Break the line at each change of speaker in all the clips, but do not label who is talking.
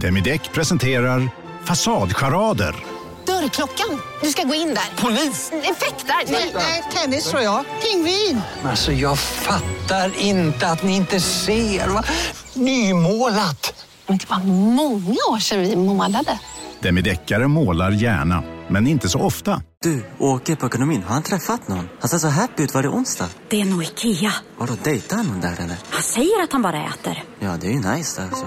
Demideck presenterar Fasadcharader.
Dörrklockan. Du ska gå in där. Polis? Effektar? Nej, nej, tennis tror jag. Pingvin.
Alltså jag fattar inte att ni inte ser. Va? Nymålat!
Men det var många år sedan vi målade.
Demideckare målar gärna, men inte så ofta.
Du, åker på ekonomin. Har han träffat någon? Han ser så happy ut. Var det onsdag?
Det är nog Ikea.
Har du dejtar han någon där eller?
Han säger att han bara äter.
Ja, det är ju nice där alltså.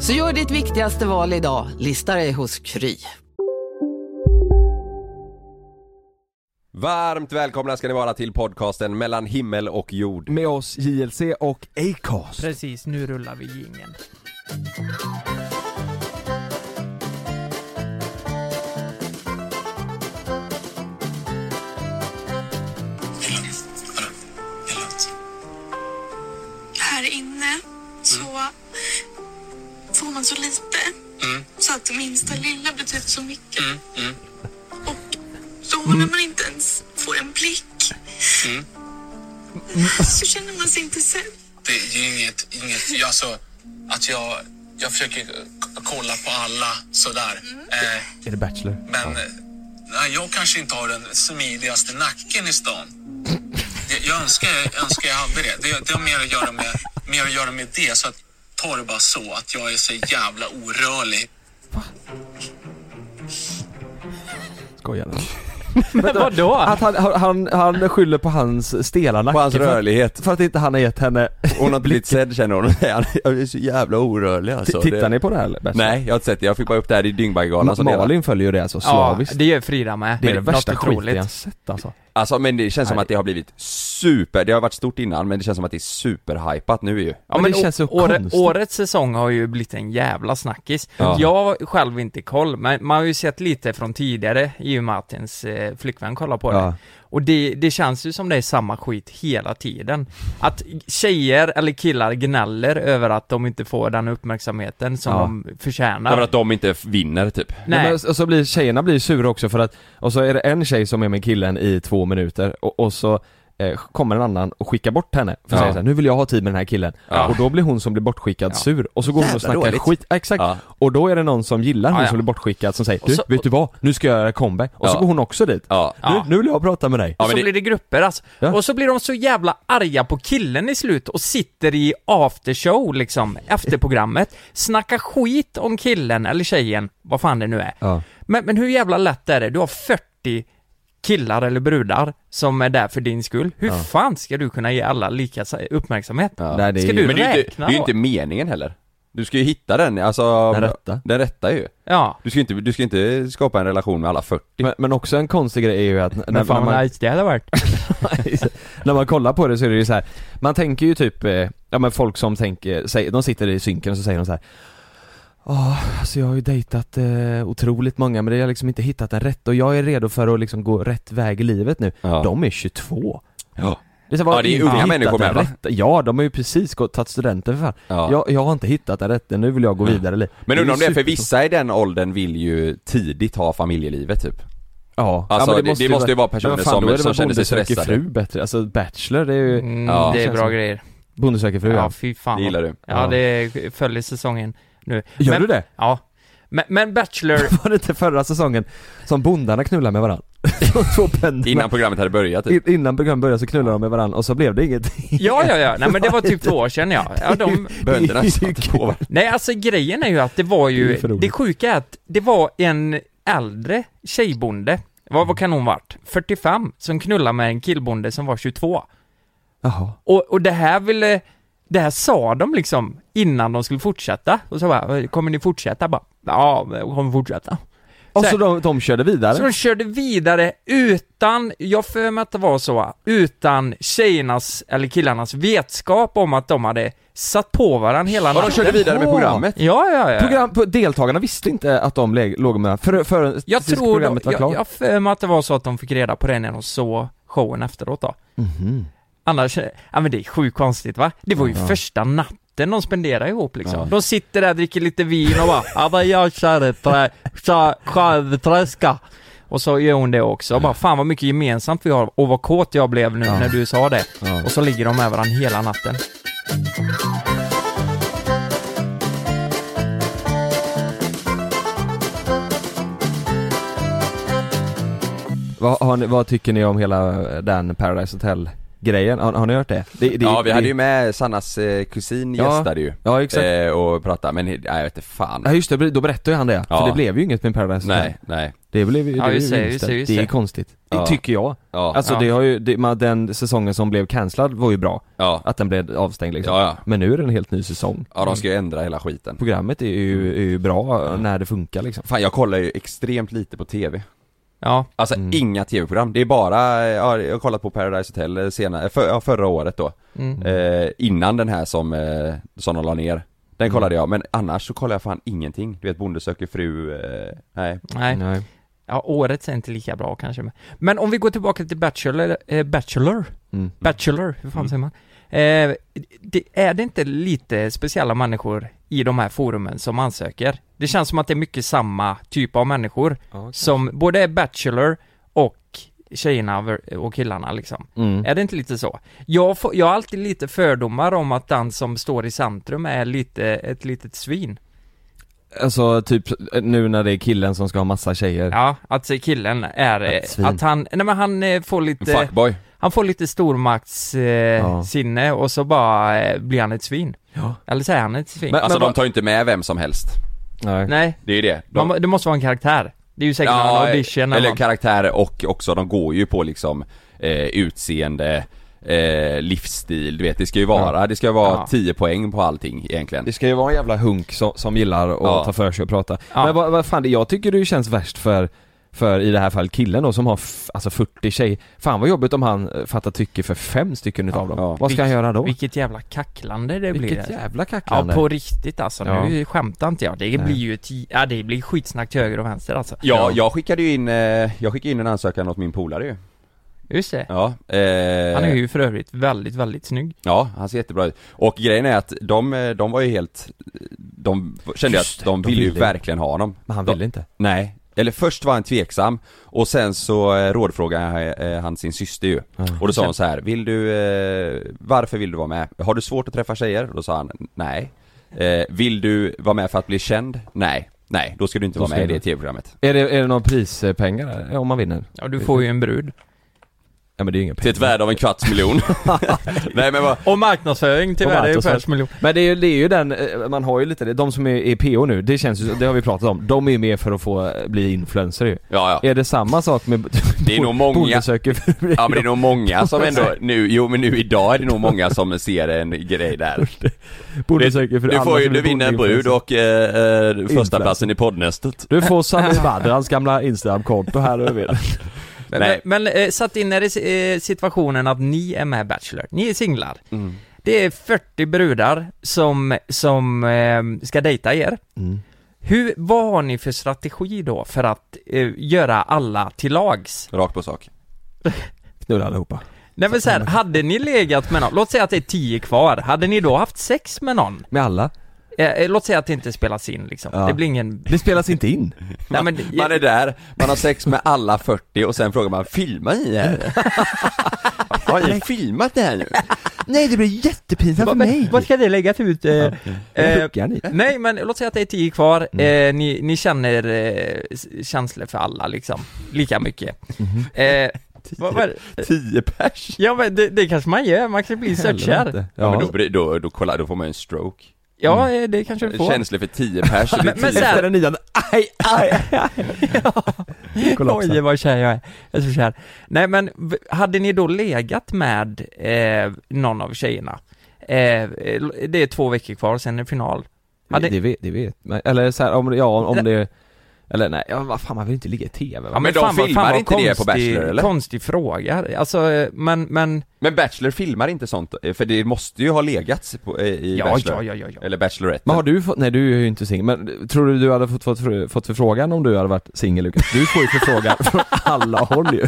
Så gör ditt viktigaste val idag, listar dig hos Kry.
Varmt välkomna ska ni vara till podcasten mellan himmel och jord.
Med oss JLC och Acast.
Precis, nu rullar vi jingeln.
här inne så får man så lite. Så att det minsta lilla betyder så mycket. Och då när man inte ens får en blick så känner man sig inte sedd.
Det är inget, inget alltså, att jag, jag försöker k- kolla på alla sådär. Eh,
Mm. Är det Bachelor?
men eh, nej, jag kanske inte har den smidigaste nacken i stan. Jag, jag, önskar, jag önskar jag hade det. det. Det har mer att göra med, mer att göra med det. Så att, ta det bara så att jag är så jävla orörlig.
Skojar du?
Men vadå?
Att han, han, han skyller på hans stela nacke
På hans
för att-
rörlighet.
För att inte han har gett henne...
Hon har inte blivit sedd känner hon. Jag är så jävla orörlig alltså.
Tittar
Det-
ni på det här eller? Bachelor?
Nej, jag har inte sett det. Jag fick bara upp det här i Dyngbaggegalan som det var.
Malin följer ju det alltså
Ja,
slaviskt.
det gör Frida med.
det är det värsta
Något
skiten
otroligt.
jag sett alltså.
Alltså men det känns som
Nej.
att det har blivit super, det har varit stort innan men det känns som att det är superhypat nu ju.
Ja,
Men
men
det känns så
å- åre-
konstigt.
årets säsong har ju blivit en jävla snackis.
Ja.
Jag har själv inte koll, men man har ju sett lite från tidigare i och med att ens eh, flickvän kollar på det.
Ja.
Och det, det känns ju som det är samma skit hela tiden. Att tjejer eller killar gnäller över att de inte får den uppmärksamheten som
Ja.
de förtjänar.
Över att de inte vinner typ.
Nej.
Nej,
men, och så blir tjejerna blir sura också för att, och så är det en tjej som är med killen i två minuter och, och så eh, kommer en annan och skickar bort henne för
Ja.
att säga såhär, nu vill jag ha tid med den här killen
Ja.
och då blir hon som blir bortskickad
Ja.
sur och så går hon och
Jävla
snackar
dåligt.
skit, Ja, exakt,
Ja.
och då är det någon som gillar hon
Ja, ja.
som blir bortskickad som säger
Och
du,
så-
vet du vad, nu ska jag göra comeback och så
Ja.
går hon också dit
Ja.
nu, nu vill jag prata med dig
Ja,
och så
men
blir
det-
det grupper alltså.
Ja.
Och så blir de så jävla arga på killen i slut och sitter i aftershow liksom, efter programmet. Snackar skit om killen eller tjejen, vad fan det nu är.
Ja.
Men, men hur jävla lätt är det? Du har 40 killar eller brudar som är där för din skull. Hur fan ska du kunna ge alla lika sa- uppmärksamhet?
Nej, det
Ska
är ju-
du
Men det är ju inte,
räkna
det är ju
då?
inte meningen heller. Du ska ju hitta den, alltså
Den rätta.
Den rätta ju.
Ja.
Du ska ju inte, du ska inte skapa en relation med alla 40.
men, men också en konstig grej är ju att när,
Men fan
när
vad
man,
nice det hade varit.
när man kollar på det så är det ju så här. man tänker ju typ, eh, ja men folk som tänker, säger, de sitter i synken och så säger de så här. Åh, alltså jag har ju dejtat eh, otroligt många men det har jag liksom inte hittat den rätta och jag är redo för att liksom gå rätt väg i livet nu.
Ja.
De är 22.
Ja.
Det är, så här, vad
Ja, det är
inte
unga
hittat
människor
den
med, va?
rätta. Ja, de har ju precis gått, tagit studenten för fan.
Ja.
Jag, jag har inte hittat den rätta, nu vill jag gå vidare i livet.
Men
är
undrar om
ju
det är för
super-
vissa i den åldern vill ju tidigt ha familjelivet typ.
Ja,
Alltså,
ja, men
det- det måste ju vara personer
men fan,
som-
då är det
som
väl
känner sig
Bonde söker
stressade.
fru bättre, alltså Bachelor det är ju
Mm,
Ja.
det är
Känns
bra
som-
grejer.
Bonde söker fru
Ja,
ja.
fy fan.
Det gillar du.
Ja,
Ja.
det följer säsongen nu.
Gör
men,
du det?
Ja. Men, men Bachelor,
Var det inte förra säsongen som bondarna knullade med varandra? De två bönderna.
Innan programmet hade börjat typ.
In- innan programmet började så knullade de med varandra och så blev det ingenting.
ja ja ja, nej men det var typ två år sedan ja. ja de,
Bönderna
Det är ju
satt på varandra.
nej alltså grejen är ju att det var
Det är
ju,
ju för roligt.
det sjuka är att det var en äldre tjejbonde, vad, vad kan hon varit? 45, som knullade med en killbonde som var 22.
Jaha.
Och, och det här ville, det här sa de liksom innan de skulle fortsätta. Och så bara, kommer ni fortsätta? Jag Bara, ja, vi kommer fortsätta.
Och
här-
så de, de körde vidare?
Så de körde vidare utan, jag för mig att det var så, utan tjejernas eller killarnas vetskap om att de hade satt på varandra hela
Ja, de körde vidare med programmet.
Ja, ja, ja.
Program, på- deltagarna visste inte att de lä- låg med för, för
jag
tills
tror, de,
programmet var
jag,
klart.
jag för mig att det var så att de fick reda på det när de såg showen efteråt då.
Mhm.
Annars, ja men det är sjukt konstigt va? Det var ju
Ja.
första natten de spenderade ihop liksom.
Ja.
De sitter där, dricker lite vin och bara ja men jag kör ett trä- kör- kör ett träska. Och så gör hon det också, och bara fan vad mycket gemensamt vi har och vad kåt jag blev nu när du sa det. Och så ligger de med varandra hela natten.
Vad, har ni, vad tycker ni om hela den Paradise Hotel grejen? Har, har ni hört det? det, det
ja vi
det,
hade ju med Sannas eh, kusin
Ja.
gästade ju
Ja, exakt.
Eh, och pratade, men nej, jag vet inte fan
Ja just det, då berättade ju han det.
Ja.
För det blev ju inget med Paradise Hotel.
Nej, nej.
Det blev ju, det
Ja,
blev ju
just det,
vinster.
just det, just
Det är
det.
konstigt.
Ja.
Tycker jag.
Ja.
Alltså
Ja.
det har ju, det, man, den säsongen som blev cancellad var ju bra. Att den blev avstängd liksom.
Ja, ja.
Men nu är det en helt ny säsong.
Ja de ska ju ändra hela skiten
Programmet är ju, är ju bra när det funkar liksom.
Fan jag kollar ju extremt lite på TV
Ja
Alltså inga TV-program, det är bara, eh, ja, jag har kollat på Paradise Hotel senare, för, ja, förra året då
Mm.
eh, Innan den här som, eh, som de la ner
Mm.
Den kollade jag, men annars så kollar jag fan ingenting Du vet Bonde söker fru, eh, nej
Nej. Ja, året är inte lika bra kanske. men- Men om vi går tillbaka till Bachelor, eh, Bachelor,
Mm.
Bachelor, hur fan säger man? Eh, det, är det inte lite speciella människor i de här forumen som ansöker? Det känns som att det är mycket samma typ av människor som både är Bachelor och tjejerna ver- och killarna liksom.
Mm.
Är det inte lite så? Jag, får, jag har alltid lite fördomar om att den som står i centrum är lite, ett litet svin.
Alltså typ nu när det är killen som ska ha massa tjejer.
Ja, att se killen är, eh,
Ett svin.
att han, nej men han eh, får lite
En fuckboy.
Han får lite stormaktssinne eh, sinne och så bara eh, blir han ett svin
Ja.
Eller så är han ett svin
Alltså de tar ju inte med vem som helst
Nej,
Nej,
Det är ju det, de,
man, må- det måste vara en karaktär Det är ju säkert någon audition
eh, eller
man,
karaktärer och också, de går ju på liksom eh, utseende, eh, livsstil, du vet det ska ju vara,
Ja.
det ska ju vara
Ja.
10 poäng på allting egentligen
Det ska ju vara en jävla hunk som, som gillar att
Ja.
ta för sig och prata. Men vad, vad fan, det- jag tycker det känns värst för, för i det här fallet killen då som har f- alltså 40 tjejer. Fan vad jobbigt om han eh, fattar tycke för fem stycken utav dem. Vad ska han göra då?
Vilket jävla kacklande det blir
Vilket jävla kacklande.
Ja på riktigt alltså, nu
Ja.
skämtar inte jag Det
Nej.
blir ju ett, ja det blir skitsnack till höger och vänster alltså
Ja, jag skickade ju in, eh, jag skickade in en ansökan åt min polare ju
Just det
Ja, eh,
Han är ju för övrigt väldigt, väldigt snygg
Ja, han ser jättebra ut. Och grejen är att de, eh, de var ju helt, de kände ju
Just
att
det,
de
de
ville ju
ville.
verkligen ha honom.
Men han
de,
ville inte.
Nej. Eller först var han tveksam och sen så eh, rådfrågade han, eh, han sin syster ju. Och då sa hon så här, vill du, eh, varför vill du vara med? Har du svårt att träffa tjejer? Då sa han, nej. Eh, vill du vara med för att bli känd? Nej. Nej, då ska du inte
Då
vara
ska
med i
du-
det tv-programmet.
Är det, är det någon prispengar där? Ja, om man vinner?
Ja du får ju en brud
Ja men det är ju inga
Till ett värde av en kvarts miljon. nej men vad,
Och marknadsföring till
Och
värde i
Bartos-
världsmiljon
Men det är ju, det är ju den, eh, man har ju lite det, de som är, är PO nu, det känns ju, det har vi pratat om, de är ju med för att få eh, bli influencer ju.
Ja,
Är det samma sak med
Det är nog många-
Bonde söker fru?
Ja men det är nog många som ändå, nu, jo men nu idag är det nog många som ser en grej där
Bonde söker fru,
Du
alla
får ju,
som är
du vinner en
bondeinfluencer.
brud och eh, eh, första platsen i poddnästet
Du får Sami Badrans gamla Instagram-konto här över.
Men,
Nej.
men eh, satt in er i eh, situationen att ni är med i Bachelor, ni är singlar.
Mm.
Det är 40 brudar som, som eh, ska dejta er.
Mm.
Hur, vad har ni för strategi då för att eh, göra alla till lags?
Rakt på sak.
Knulla allihopa.
Nej men så här, hade ni legat med någon, låt säga att det är 10 kvar, hade ni då haft sex med någon?
Med alla?
Eh, eh, låt säga att det inte spelas in liksom,
Ja.
det blir ingen...
Det spelas inte in.
Nej, men,
Man är där, man har sex med alla 40 och sen frågar man filmar ni det här? Har ni filmat det här nu?
Nej det blir jättepinsamt för mig.
Vad ska det läggas ut? Eh, eh,
Huggar ni?
Nej men låt säga att det är tio kvar,
Mm.
eh, ni, ni känner eh, s- känslor för alla liksom, lika mycket eh, vad, vad,
Mm-hmm. Tio pers?
Ja men det, det kanske man gör, man kan bli
Helvete.
sötkär
Ja Mm. men då, blir- då, då, kolla, då får man ju en stroke
Ja, eh, det kanske du får
Känslig för 10 pers, det blir
Men- men
10.
så här-
Den nya, aj, aj,
Oj vad kär jag är, jag är så kär Nej men, v- hade ni då legat med eh, någon av tjejerna? Eh, eh, det är två veckor kvar, sen är det final
Det, det vet, det vet man. Eller så här, om, ja om det, Eller nej, ja, vad fan man vill inte ligga i TV va?
Ja, men,
de
fan, vad-
filmar
fan, vad
inte det på
konstig-
Bachelor, eller?
konstig fråga. Alltså, eh, men, men...
Men Bachelor filmar inte sånt, eh, för det måste ju ha legats på, eh, i
Ja,
Bachelor
ja, ja, ja, ja.
Eller Bachelorette
Men har du fått, nej du är ju inte singel, men tror du du hade fått, fått, fått förfrågan om du hade varit singel Lukas? Du får ju förfrågan från alla håll ju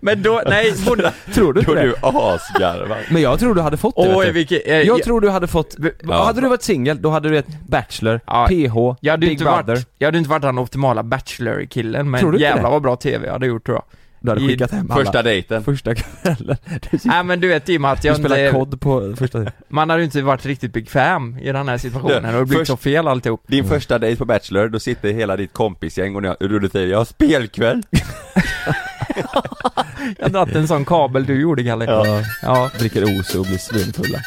Men då, nej, borde...
Tror du inte
Då är
det?
du asgarvar
Men jag tror du hade fått det vet
Oj,
du.
vilket... eh,
Jag
jag,
tror du hade fått, hade du varit singel då hade du ett Bachelor,
Ja.
PH,
jag, hade
Big
inte
Brother
varit, jag hade inte varit den optimala bachelor-killen,
Tror du
men
inte
jävlar
det?
vad bra TV jag hade gjort tror jag.
Du hade
i
skickat hem alla
Första dejten
första kvällen Du,
Nej men Typ. du vet i och med att
du
jag
spelar
inte,
kod på första
man hade ju inte varit riktigt bekväm i den här situationen och det har blivit
Först-
så fel alltihop.
Din
Mm.
första dejt på Bachelor, då sitter hela ditt kompisgäng och ni har- och du säger 'Jag har spelkväll'
Jag hade dragit en sån kabel du gjorde Kalle.
Ja.
ja.
Dricker OC och blir svinfulla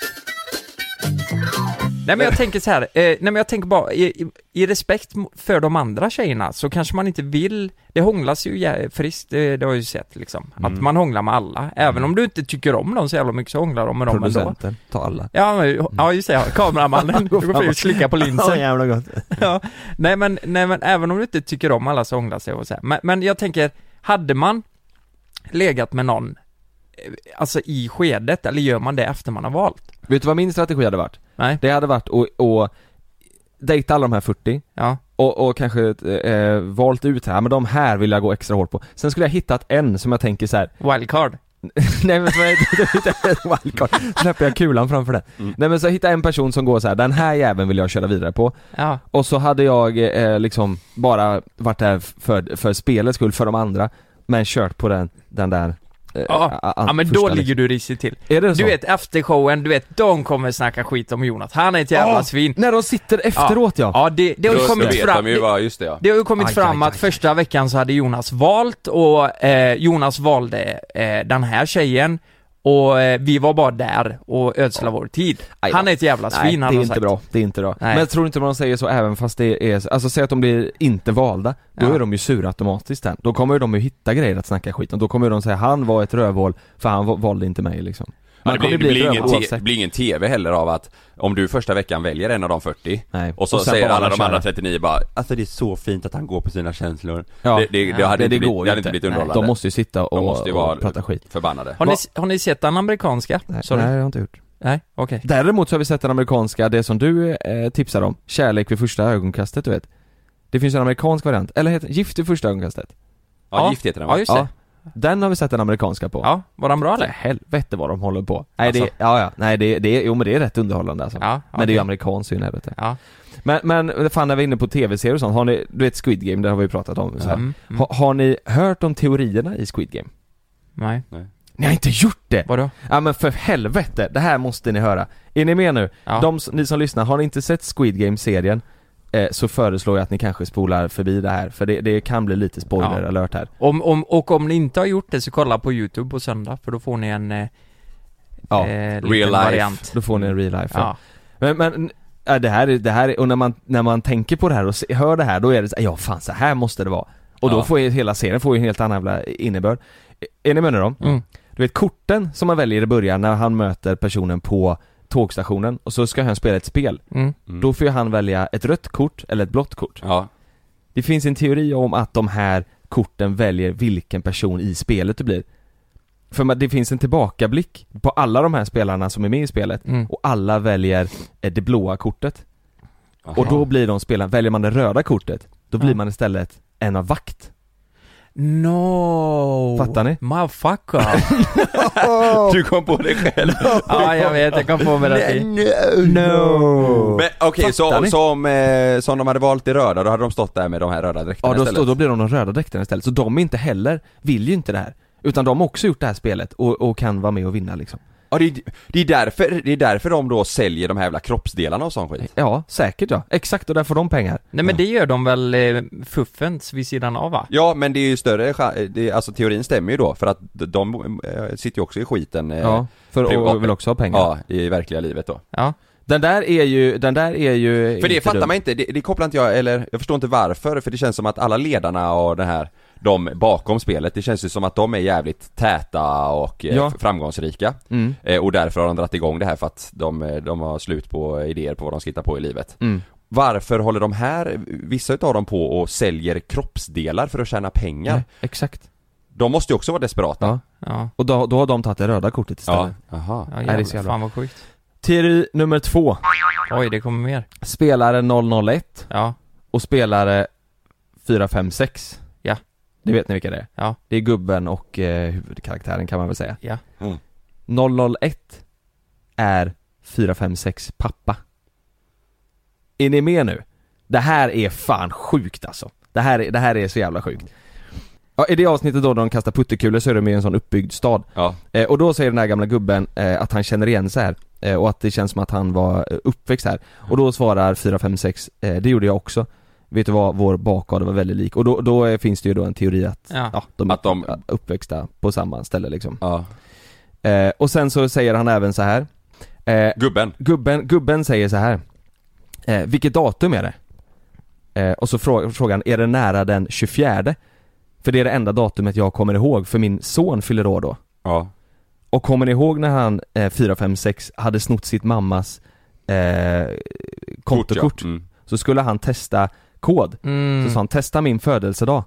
Nej men jag tänker så här, eh, nej men jag tänker bara, i, i, i respekt mo- för de andra tjejerna så kanske man inte vill, det hånglas ju jä- friskt, eh, det har jag ju sett liksom. Att man hånglar med alla, även om du inte tycker om dem så jävla mycket så hånglar de med dem ändå.
Producenten, ta alla
Ja, men, ja just det, ja. kameramannen, du går fram och slickar på linsen.
jävla gott
Ja, nej men, nej men även om du inte tycker om alla så ångrar sig och så här. Men, men jag tänker, hade man legat med någon, eh, alltså i skedet, eller gör man det efter man har valt?
Vet du vad min strategi hade varit?
Nej.
Det hade varit att, att dejta alla de här 40
Ja,
och, och kanske eh, valt ut här, men de här vill jag gå extra hårt på. Sen skulle jag hittat en som jag tänker så här.
wildcard.
nej men som jag hittar en wildcard, släpper jag kulan framför den.
Mm.
Nej men så hitta en person som går så här. den här jäveln vill jag köra vidare på.
Ja,
Och så hade jag eh, liksom bara varit där för, för spelets skull, för de andra, men kört på den, den där eh,
ja.
a- a-
ja men
första
då
liksom.
ligger du risigt till.
Är det så?
Du vet efter showen, du vet de kommer snacka skit om Jonas, han är ett jävla
Ja,
svin.
När de sitter efterat ja.
Ja, det, det har
Då
ju
då
kommit
vet
fram.
de ju
Det,
vad, just det ja
det har ju kommit
Aj,
fram
aj,
att
aj.
första veckan så hade Jonas valt och eh, Jonas valde eh, den här tjejen och eh, vi var bara där och ödsla vår tid.
Aj då.
Han är ett jävla svin
Nej,
hade
det är
de
inte
sagt.
bra, det är inte bra.
Nej.
Men jag tror inte man säger så även fast det är, alltså säg att de blir inte valda, då
Ja.
är de ju sura automatiskt sen. Då kommer ju de ju hitta grejer att snacka skit om, då kommer ju de säga han var ett rövhål för han va- valde inte mig liksom. Man
det, blir,
kommer
det,
bli
blir ingen
ett rövhål
te, det
oavsett.
blir ingen TV heller av att om du första veckan väljer en av de 40
Nej.
och så
Och sen
säger
bara
alla de
köra.
andra 39 bara 'Alltså det är så fint att han går på sina känslor'
Ja.
det, det, det, hade
Nej,
inte, blivit,
går
det
ju
hade inte blivit underhållande
De måste ju sitta och,
De måste ju vara
och prata skit.
förbannade
Har ni, har ni sett den amerikanska?
Nej,
Sorry.
nej,
Nej,
det har jag inte gjort.
okej.
Däremot så har vi sett den amerikanska, det som du eh, tipsade om, Kärlek vid första ögonkastet du vet. Det finns en amerikansk variant, eller heter Gift vid första ögonkastet.
Ja, gift heter den va?
Ja, just det.
Den har vi sett den amerikanska på.
Ja, var den bra
För
eller?
helvete vad de håller på. Nej
Alltså.
det, ja ja, nej det, det, jo men det är rätt underhållande alltså.
Ja,
Men det är ju
okej.
amerikanskt i helvete.
Ja.
Men, men fan när vi är inne på tv-serier och sånt, har ni, du vet Squid Game, det har vi ju pratat om så här.
Mm, mm.
Ha, har ni hört om teorierna i Squid Game?
Nej.
Ni har inte gjort det!
Vadå?
Ja men för helvete, det här måste ni höra. Är ni med nu?
Ja.
De, s- ni som lyssnar, har ni inte sett Squid Game-serien eh, så föreslår jag att ni kanske spolar förbi det här, för det, det kan bli lite spoiler
Ja.
alert här.
Om, om, och om ni inte har gjort det så kolla på YouTube på söndag för då får ni en eh,
Ja,
eh, liten
real life.
variant.
då får ni en real life. ja.
Ja.
Men, men ja, det här är, det här är, och när man, när man tänker på det här och se, hör det här då är det så, ja fan så här måste det vara. Och då
Ja.
får ju hela serien får ju en helt annan jävla innebörd. Är ni med nu då?
Mm.
Du vet korten som man väljer i början när han möter personen på tågstationen och så ska han spela ett spel.
Mm.
Då får ju han välja ett rött kort eller ett blått kort.
Ja,
Det finns en teori om att de här korten väljer vilken person i spelet du blir. För man- det finns en tillbakablick på alla de här spelarna som är med i spelet
Mm.
och alla väljer eh, det blåa kortet. Och då blir de spelarna, väljer man det röda kortet, då blir
Ja.
man istället en av vakt.
No!
Fattar ni?
Motherfucker!
Du kom på det själv!
ja, jag vet, jag kom på mig det. i-
No!
Men okej,
Fattar
så,
ni?
så om, eh, så om de hade valt det röda, då hade de stått där med de här röda dräkterna
Ja, då,
istället?
då blir de de röda dräkterna istället, så de inte heller, vill ju inte det här. Utan de har också gjort det här spelet och, och kan vara med och vinna liksom.
Ja, det, är- det, är därför, det är därför de då säljer de här jävla kroppsdelarna och sån skit
Ja, säkert ja. Exakt, och där får de pengar.
Nej men det gör de väl eh, fuffens vid sidan av va?
Ja men det är ju större cha- det, alltså teorin stämmer ju då för att de eh, sitter ju också i skiten eh,
Ja, för
privat-
och vill också ha pengar.
ja, i verkliga livet då.
Ja.
Den där är ju, den där är ju
För det
inte
fattar
dum.
man inte, det, det kopplar inte jag, eller jag förstår inte varför, för det känns som att alla ledarna och det här, de bakom spelet, det känns ju som att de är jävligt täta och eh,
Ja.
framgångsrika.
Mm.
Eh, och därför har de dragit igång det här för att de, eh, de har slut på idéer på vad de ska hitta på i livet.
Mm.
Varför håller de här, vissa utav dem på och säljer kroppsdelar för att tjäna pengar?
Nej, exakt.
De måste ju också vara desperata.
Ja. Och då, då har de tagit det röda kortet istället.
Ja. Jaha.
Nej, det är så jävla
Fan vad sjukt.
Teori nummer två.
Oj, det kommer mer.
Spelare 001.
Ja.
Och spelare 456.
Ja.
Det vet ni vilka det är?
Ja.
Det är gubben och eh, huvudkaraktären kan man väl säga.
Ja.
001 är 456 pappa. Är ni med nu? Det här är fan sjukt alltså. Det här är, det här är så jävla sjukt. Ja, I det avsnittet då när de kastar puttekulor så är de i en sån uppbyggd stad.
Ja.
Eh, och då säger den här gamla gubben eh, att han känner igen sig här eh, och att det känns som att han var eh, uppväxt här. Och då svarar 456, eh, det gjorde jag också. Vet du vad, vår bakgård var väldigt lik. Och då, då eh, finns det ju då en teori att,
Ja.
ja, de,
Att de-
är uppväxta på samma ställe liksom.
Ja.
Eh, och sen så säger han även så här. Eh,
Gubben.
gubben, gubben säger så här. Eh, vilket datum är det? Eh, och så frå- frågar han, är det nära den 24? För det är det enda datumet jag kommer ihåg, för min son fyller år då.
Ja.
Och kommer ni ihåg när han, eh, 456, hade snott sitt mammas eh, kontokort?
Kort, ja. Mm.
Så skulle han testa kod.
Mm.
Så sa han, testa min födelsedag.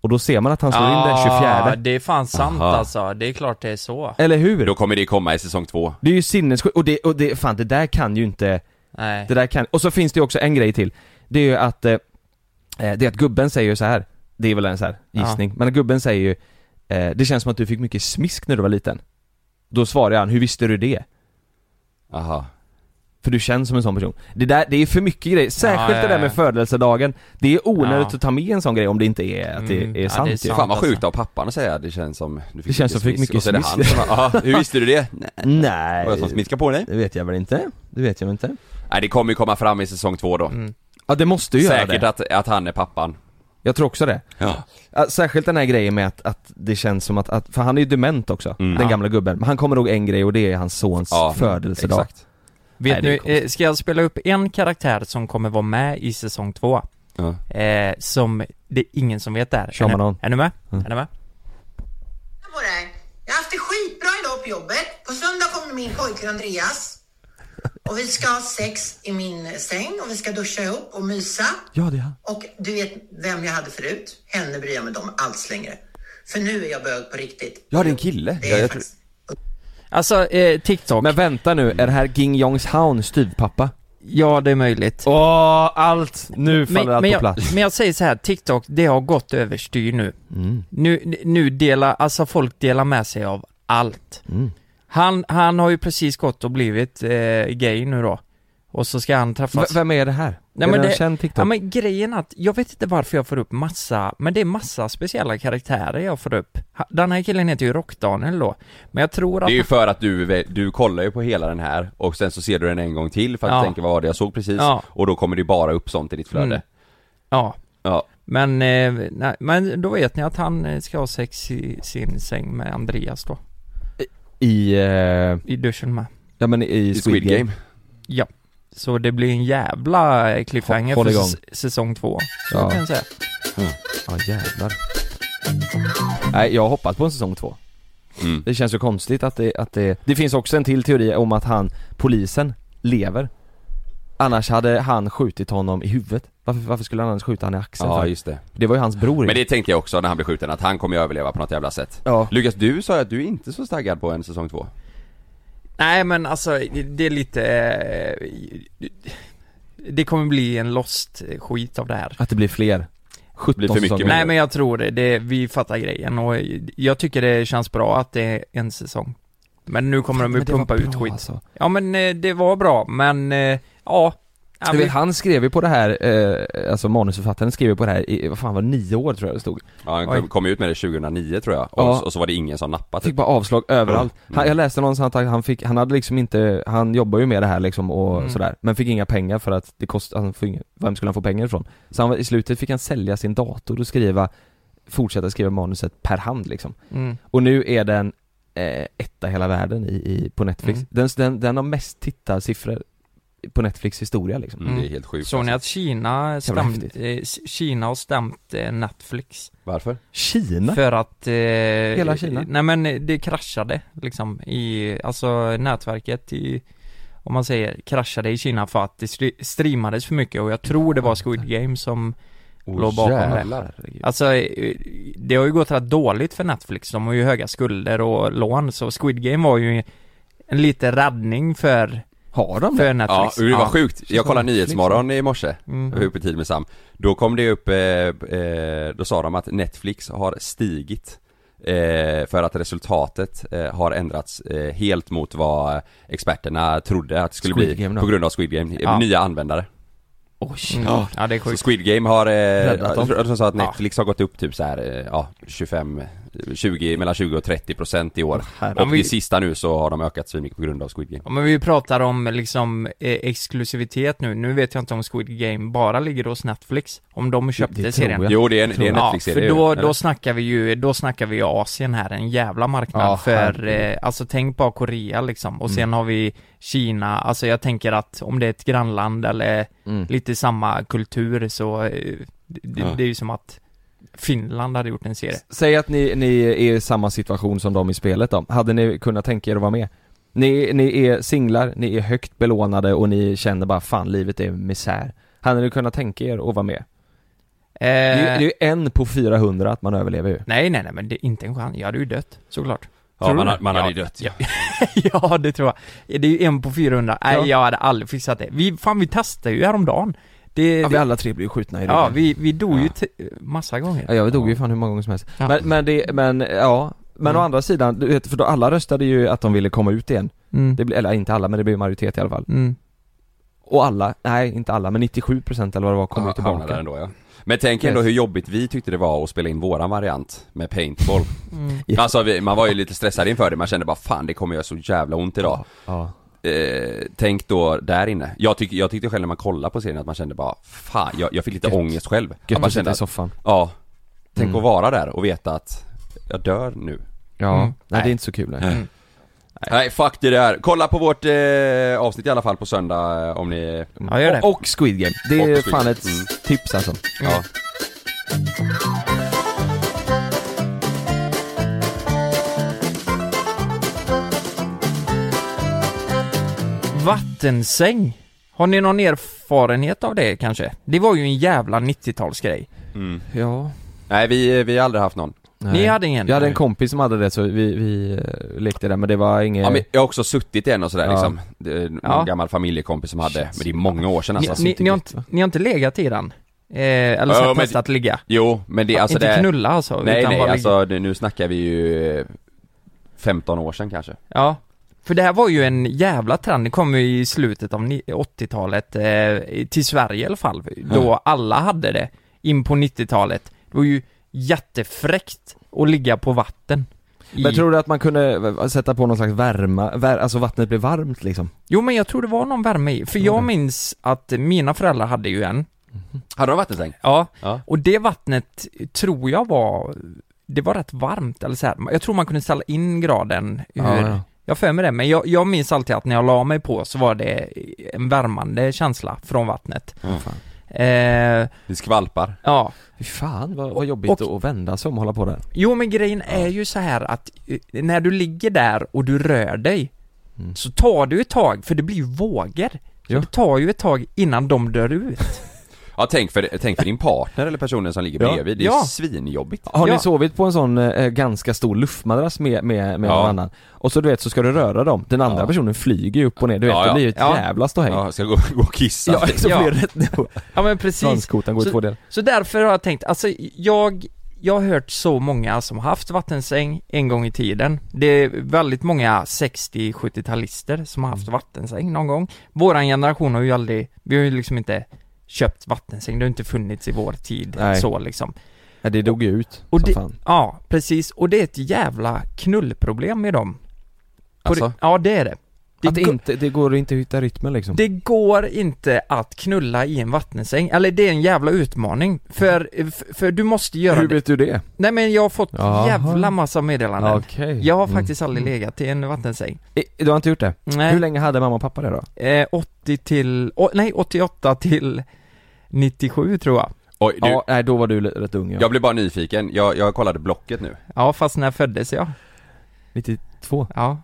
Och då ser man att han slår in
Ah.
den 24.
det är fan sant
Aha.
alltså. Det är klart det är så.
Eller hur?
Då kommer det komma i säsong två.
Det är ju sinnessjukt, och det, och det, fan det där kan ju inte,
Nej.
det där kan, och så finns det ju också en grej till Det är ju att, eh, eh, det är att gubben säger ju så här Det är väl en så här gissning, men gubben säger ju eh, Det känns som att du fick mycket smisk när du var liten Då svarar han, hur visste du det?
Aha.
För du känns som en sån person Det där, det är för mycket grejer, särskilt
Ja, ja,
det där
ja.
med födelsedagen Det är onödigt
Ja.
att ta med en sån grej om det inte är att det
Mm, ja,
är
det
sant
är
ju.
sant.
Fan vad
alltså.
sjukt av pappan att säga det känns som du
Det känns som fick mycket
Och så är det han
smisk.
som bara, "Ja, hur visste du det? Nej.
Nej,
Var det som smiskade på dig?
det vet jag väl inte, det vet jag väl inte Mm.
Nej det kommer ju komma fram i säsong två då.
Ja det måste ju göra
Säkert
det,
att, att han är pappan.
jag tror också det
Ja.
Ja, Särskilt den här grejen med att, att det känns som att, att, för han är ju dement också, den gamla gubben. Men han kommer ihåg en grej och det är hans sons
Mm. Ja,
födelsedag.
exakt.
Vet
Nej, det är
ni, eh, ska jag spela upp en karaktär som kommer vara med i säsong två?
Ja.
Eh, som det är ingen som vet där.
Kör
Är ni-
man Mm. on.
Är ni med? Är ni med?
på det här. Jag har haft det skitbra idag på jobbet. På söndag kommer min pojke Andreas. Och vi ska ha sex i min säng och vi ska duscha ihop och mysa.
Ja, det är han.
Och du vet vem jag hade förut? Henne bryr jag mig inte om alls längre. För nu är jag bög på riktigt.
Ja det är en kille.
Det
Ja,
är
jag tror...
faktiskt...
Alltså, eh, TikTok.
Men vänta nu, är det här Ging Jongs Haun styvpappa?
ja, det är möjligt.
Åh, allt! Nu faller allt
men
på
jag,
plats.
Men jag säger så här, TikTok, det har gått överstyr nu.
Mm.
Nu, nu delar, alltså folk delar med sig av allt.
Mm.
Han, han har ju precis gått och blivit eh, gay nu då. Och så ska han
V-
träffas.
vem är det här?
Nej,
är
men
det en
det-
känd TikTok?
Ja men grejen att, jag vet inte varför jag får upp massa, men det är massa speciella karaktärer jag får upp. Ha- Den här killen heter ju Rock-Daniel då, men jag tror att...
Det är ju för att du, du kollar ju på hela den här och sen så ser du den en gång till för att
Ja.
du tänker vad var det jag såg precis
Ja.
och då kommer det bara upp sånt i ditt flöde.
Mm. Ja,
Ja.
men, eh, nej, men då vet ni att han eh, ska ha sex i sin säng med Andreas då,
I, eh,
i duschen med.
ja men i,
I Squid Game.
Ja. Så det blir en jävla eh, cliffhanger
Håll
för
igång.
säs- säsong två. Så
Ja.
kan jag säga.
Ja jävlar. Nej, jag har hoppat på en säsong två.
Mm.
Det känns ju konstigt att det, att det... Det finns också en till teori om att han, polisen, lever. Annars hade han skjutit honom i huvudet. Varför, varför skulle han annars skjuta han i axeln
Ja
för?
just det.
Det var ju hans bror
Men det tänkte jag också när han blev skjuten, att han kommer ju överleva på något jävla sätt.
Ja.
Lukas, du sa ju att du inte är så taggad på en säsong två.
Nej men alltså, det- det är lite... eh, Det kommer bli en lost skit av det här.
Att det blir fler. 17
blir för mycket
säsonger.
mer.
Nej men jag tror det, det, vi fattar grejen och jag tycker det känns bra att det är en säsong. Men nu kommer de ju
Men det var
pumpa ut
bra,
skit.
Alltså.
Ja men eh, det var bra, men eh, ja. Ja,
Du
vi-
vet, han skrev ju på det här, eh, alltså manusförfattaren skrev ju på det här i, vad fan var det, nio år tror jag det stod.
Ja, han
Oj.
kom, kom ut med det 2009 tror jag, och,
Ja.
och så var det ingen som nappade
Han fick bara avslag överallt.
Mm.
Han, jag läste någonstans att han fick, han hade liksom inte, han jobbar ju med det här liksom och
Mm.
sådär, men fick inga pengar för att det kostade, han fick, inga- vem skulle han få pengar ifrån? Så han, var- i slutet fick han sälja sin dator och skriva, fortsätta skriva manuset per hand liksom.
Mm.
Och nu är den eh, etta i hela världen i, i, på Netflix.
Mm.
Den, den, den har mest tittarsiffror på Netflix historia liksom.
Mm, det är helt sjukt.
Såg ni
alltså.
att Kina, stämt,
häftigt.
eh, s- Kina har stämt eh, Netflix?
Varför?
Kina?
För att... Eh,
Hela Kina?
Nej men det kraschade liksom i, alltså nätverket i, om man säger, kraschade i Kina för att det stri- streamades för mycket och jag tror det var Squid Game som
Åh,
låg bakom
jävlar.
det. Alltså, eh, det har ju gått rätt dåligt för Netflix, de har ju höga skulder och lån, så Squid Game var ju en lite räddning för
Har de
för Netflix.
Ja, det var sjukt. Jag kollade Nyhetsmorgon i morse,
Mm.
jag var uppe i tid med Sam. Då kom det upp, eh, eh, då sa de att Netflix har stigit eh, för att resultatet eh, har ändrats eh, helt mot vad experterna trodde att det skulle
Squid
bli
Game då?
på grund av Squid Game, eh,
Ja.
nya användare.
Oj.
Mm. Ja, det är sjukt.
Så Squid Game har, eh,
Räddat dem.
jag tror de sa att Netflix har gått upp typ så här, eh, ja 25, 20, mellan 20 och 30 procent i år.
herregud.
och i sista nu så har de ökat så mycket på grund av Squid Game.
Ja, men vi pratar om liksom eh, exklusivitet nu. Nu vet jag inte om Squid Game bara ligger hos Netflix, om de köpte
tror
serien.
jag.
Jo det är en, det är en Netflix-serie
Ja, för då,
eller?
då snackar vi ju, då snackar vi ju Asien här, en jävla marknad
Ja,
för,
herregud.
eh, alltså tänk bara Korea liksom, och
Mm.
sen har vi Kina, alltså jag tänker att om det är ett grannland eller
Mm.
lite samma kultur så, eh, det,
Ja.
det är ju som att Finland hade gjort en serie.
Säg att ni, ni är i samma situation som de i spelet då. Hade ni kunnat tänka er att vara med? Ni, ni är singlar, ni är högt belånade och ni känner bara fan livet är misär. Hade ni kunnat tänka er att vara med? Det är ju- det är ju en på 400 att man överlever ju.
Eh, Nej, nej, nej, men det är inte en chans. Jag hade ju dött, såklart.
Ja,
Tror
man
du
har-
det?
man hade
ja,
ju dött,
Ja. ja, det tror jag. Det är ju en på 400. Nej,
Ja.
jag hade aldrig fixat det. Vi, fan, vi testade ju häromdagen. Det,
Ja,
ja,
vi
vi,
alla tre blir ju skjutna i ryggen.
ja, vi, vi dog ju
Ja.
t- massa
Ja,
gånger.
jag dog ju fan hur många gånger som helst.
Ja.
Men, men det, men ja. Men
Mm.
å andra sidan, du vet, för då alla röstade ju att de ville komma ut igen.
Mm.
Det blir, eller inte alla, men det blir majoritet i alla fall.
Mm.
Och alla, nej inte alla, men 97% eller vad det var kom ju
Ja,
tillbaka.
hamnar där ändå, ja. Men tänk ändå
Yes.
hur jobbigt vi tyckte det var att spela in våran variant med paintball.
Ja.
Alltså vi, man var ju lite stressad inför det, man kände bara fan det kommer göra så jävla ont idag.
Ja.
Eh, tänk då där inne. Jag, tyck, jag tyckte själv när man kollade på serien att man kände bara fan, jag, jag fick lite
Gött.
ångest själv.
Gött
att man
att sitta
kände
i
att,
soffan.
ja, tänk
Mm.
att vara där och veta att jag dör nu.
Ja,
Mm.
nej det är inte så kul. Nej.
Nej fuck det där. Kolla på vårt eh, avsnitt i alla fall på söndag eh, om ni...
Ja, gör det.
Och, och Squid Game. Det är
Och Squid-
fan ett
Mm.
tips alltså.
Ja.
Vattensäng. Har ni någon erfarenhet av det kanske? Det var ju en jävla 90-talsgrej.
Mm.
Ja.
Nej vi, vi har aldrig haft någon.
Ni hade ingen?
Jag hade en kompis som hade det så vi, vi eh, lekte det men det var inget...
Ja, men jag har också suttit i en och sådär
Ja.
liksom. Det är någon
Ja.
gammal familjekompis som hade, men det är många år sedan alltså.
ni, ni, ni, har inte, ni har inte legat i den? Eh, eller så
Ja, men-
testat ligga?
Jo, men det, alltså
inte
det...
knulla alltså?
nej
utan
nej,
bara ligga.
alltså det, nu snackar vi ju eh, 15 år sedan kanske.
Ja, för det här var ju en jävla trend, det kom ju i slutet av ni- 80-talet, eh, till Sverige i alla fall,
Hm.
då alla hade det, in på 90-talet. Det var ju jättefräckt att ligga på vatten. I...
Men tror du att man kunde eh, sätta på någon slags värma, vär, alltså vattnet blev varmt liksom?
Jo men jag tror det var någon värme i, för jag minns att mina föräldrar hade ju en.
Mhm. Hade de vattensäng?
Ja,
Ja.
och det vattnet tror jag var, det var rätt varmt eller så här. jag tror man kunde ställa in graden hur,
Ja, ja.
Jag har för mig det, men jag, jag minns alltid att när jag la mig på så var det en värmande känsla från vattnet. Eh,
Det skvalpar.
ja.
Fy fan vad, vad jobbigt
Och-
att vända sig om och hålla på där.
Jo men grejen är ju så här att eh, när du ligger där och du rör dig så tar du ett tag, för det blir ju vågor. Så
Ja.
det tar ju ett tag innan de dör ut.
Ja, tänk för, tänk för din partner eller personen som ligger
Ja.
bredvid. Det är
Ja.
svinjobbigt.
Har
Ja.
ni sovit på en sån eh, ganska stor luftmadrass med, med, med
Ja.
någon annan? Och så du vet, så ska du röra dem, den andra
Ja.
personen flyger ju upp och ner, du vet,
Ja, ja.
det blir ju ett
Ja.
jävla ståhej.
Ja, ska gå, gå och kissa.
Ja, så
Ja.
blir det rätt
Ja men precis.
Svanskotan går i
Så-
två delar.
Så därför har jag tänkt, alltså jag, jag har hört så många som har haft vattensäng en gång i tiden. Det är väldigt många 60-70-talister som har
Mm.
haft vattensäng någon gång. Våran generation har ju aldrig, vi har ju liksom inte köpt vattensäng, det har inte funnits i vår tid
Nej.
så liksom.
Ja, det dog ju ut
Och
som
det-
fan.
Ja, precis. Och det är ett jävla knullproblem med dem. På
Alltså?
det- Ja, det är det.
att det,
går-
inte, det går inte att hitta rytmen liksom.
det går inte att knulla i en vattensäng, eller det är en jävla utmaning, för, för, för du måste göra
Hur
det.
vet du det?
Nej men jag har fått
Jaha.
jävla massa meddelanden.
Okej.
Jag har
Mm.
faktiskt aldrig legat i en vattensäng.
Eh, Du har inte gjort det?
Nej.
Hur länge hade mamma och pappa det då?
Eh, 80 till, åh, nej 88 till 97 tror jag.
Oj, du,
ja, nej då var du l- rätt ung ja.
Jag blev bara nyfiken. Jag, jag kollade Blocket nu.
Ja fast när föddes jag?
92?
Ja.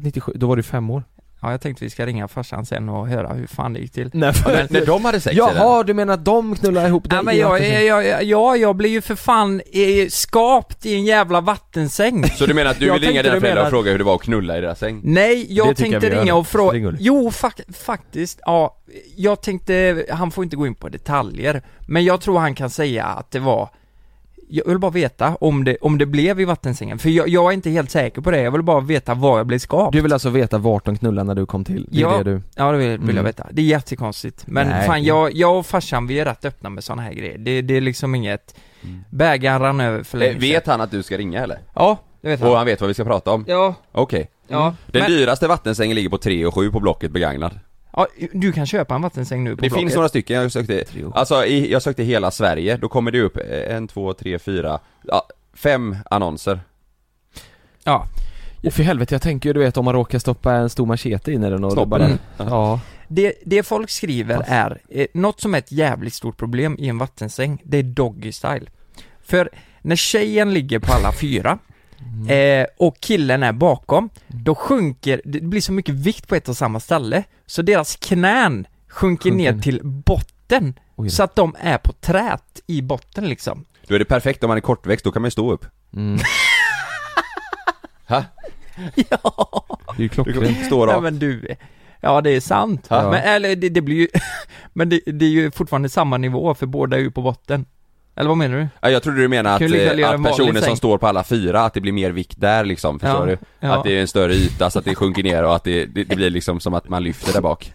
97? Då var du fem år?
Ja, jag tänkte vi ska ringa farsan sen och höra hur fan det gick till.
Nej, för-
men,
När de hade
sex,
Jaha, du menar att de knullar ihop dig?
Ja, men jag, jag, jag, jag, jag blir ju för fan eh, skapt i en jävla vattensäng.
Så du menar att du
Jag
vill ringa
tänkte
dina
du
föräldrar
menar-
och fråga hur det var att knulla i deras säng?
Nej,
Det
jag
tycker jag
tänkte
vi gör.
ringa och
Ring,
fråga.
Olle.
Jo, fak- faktiskt, ja. Jag tänkte, han får inte gå in på detaljer. Men jag tror han kan säga att det var jag vill bara veta om det, om det blev i vattensängen, för jag, jag är inte helt säker på det, jag vill bara veta var jag blev skapt
Du vill alltså veta vart de knullar när du kom till? Det är
ja,
det du...
ja, det vill, vill
Mm.
jag veta. Det är jättekonstigt. Men
Nej.
fan, jag, jag och farsan vi är rätt öppna med sådana här grejer. Det, det är liksom inget... Bägaren rann över för länge
Mm. Eh, Vet
sedan.
han att du ska ringa eller?
Ja, det vet han.
Och han vet vad vi ska prata om?
Ja.
Okej. Mm.
Ja,
Den
men-
dyraste vattensängen ligger på 3 och 7 på Blocket begagnad.
Ja, du kan köpa en vattensäng nu på
Det
Blocket.
finns några stycken, jag sökte, alltså i, jag sökte hela Sverige, då kommer det upp eh, en, två, tre, fyra, ja, fem annonser.
Ja.
Och för helvete, jag tänker ju du vet om man råkar stoppa en stor machete in i den och
Snoppen.
bara...
Mm.
Ja.
Det, det folk skriver är, eh, något som är ett jävligt stort problem i en vattensäng, det är doggy style. För när tjejen ligger på alla fyra,
Mm.
eh, och killen är bakom, då sjunker, det blir så mycket vikt på ett och samma ställe, så deras knän sjunker
Sjunker
ner
ner.
till botten,
Oj då.
så att de är på trät i botten liksom.
Då är det perfekt om man är kortväxt, då kan man ju stå upp. Ha? Ja.
Det är ju
Du kan stå
Nej,
rakt.
men du, ja det är sant.
Ja.
Men eller det, det blir ju, men det, det är ju fortfarande samma nivå för båda är ju på botten. Eller vad menar du?
Ja, jag trodde du menade att,
Kan ju lika
eh,
väl göra
att
en vanlig
personer som
säng.
står på alla fyra, att det blir mer vikt där liksom, förstår
Ja,
du?
ja.
Att det är en större yta så att det sjunker ner och att det, det, det blir liksom som att man lyfter där bak.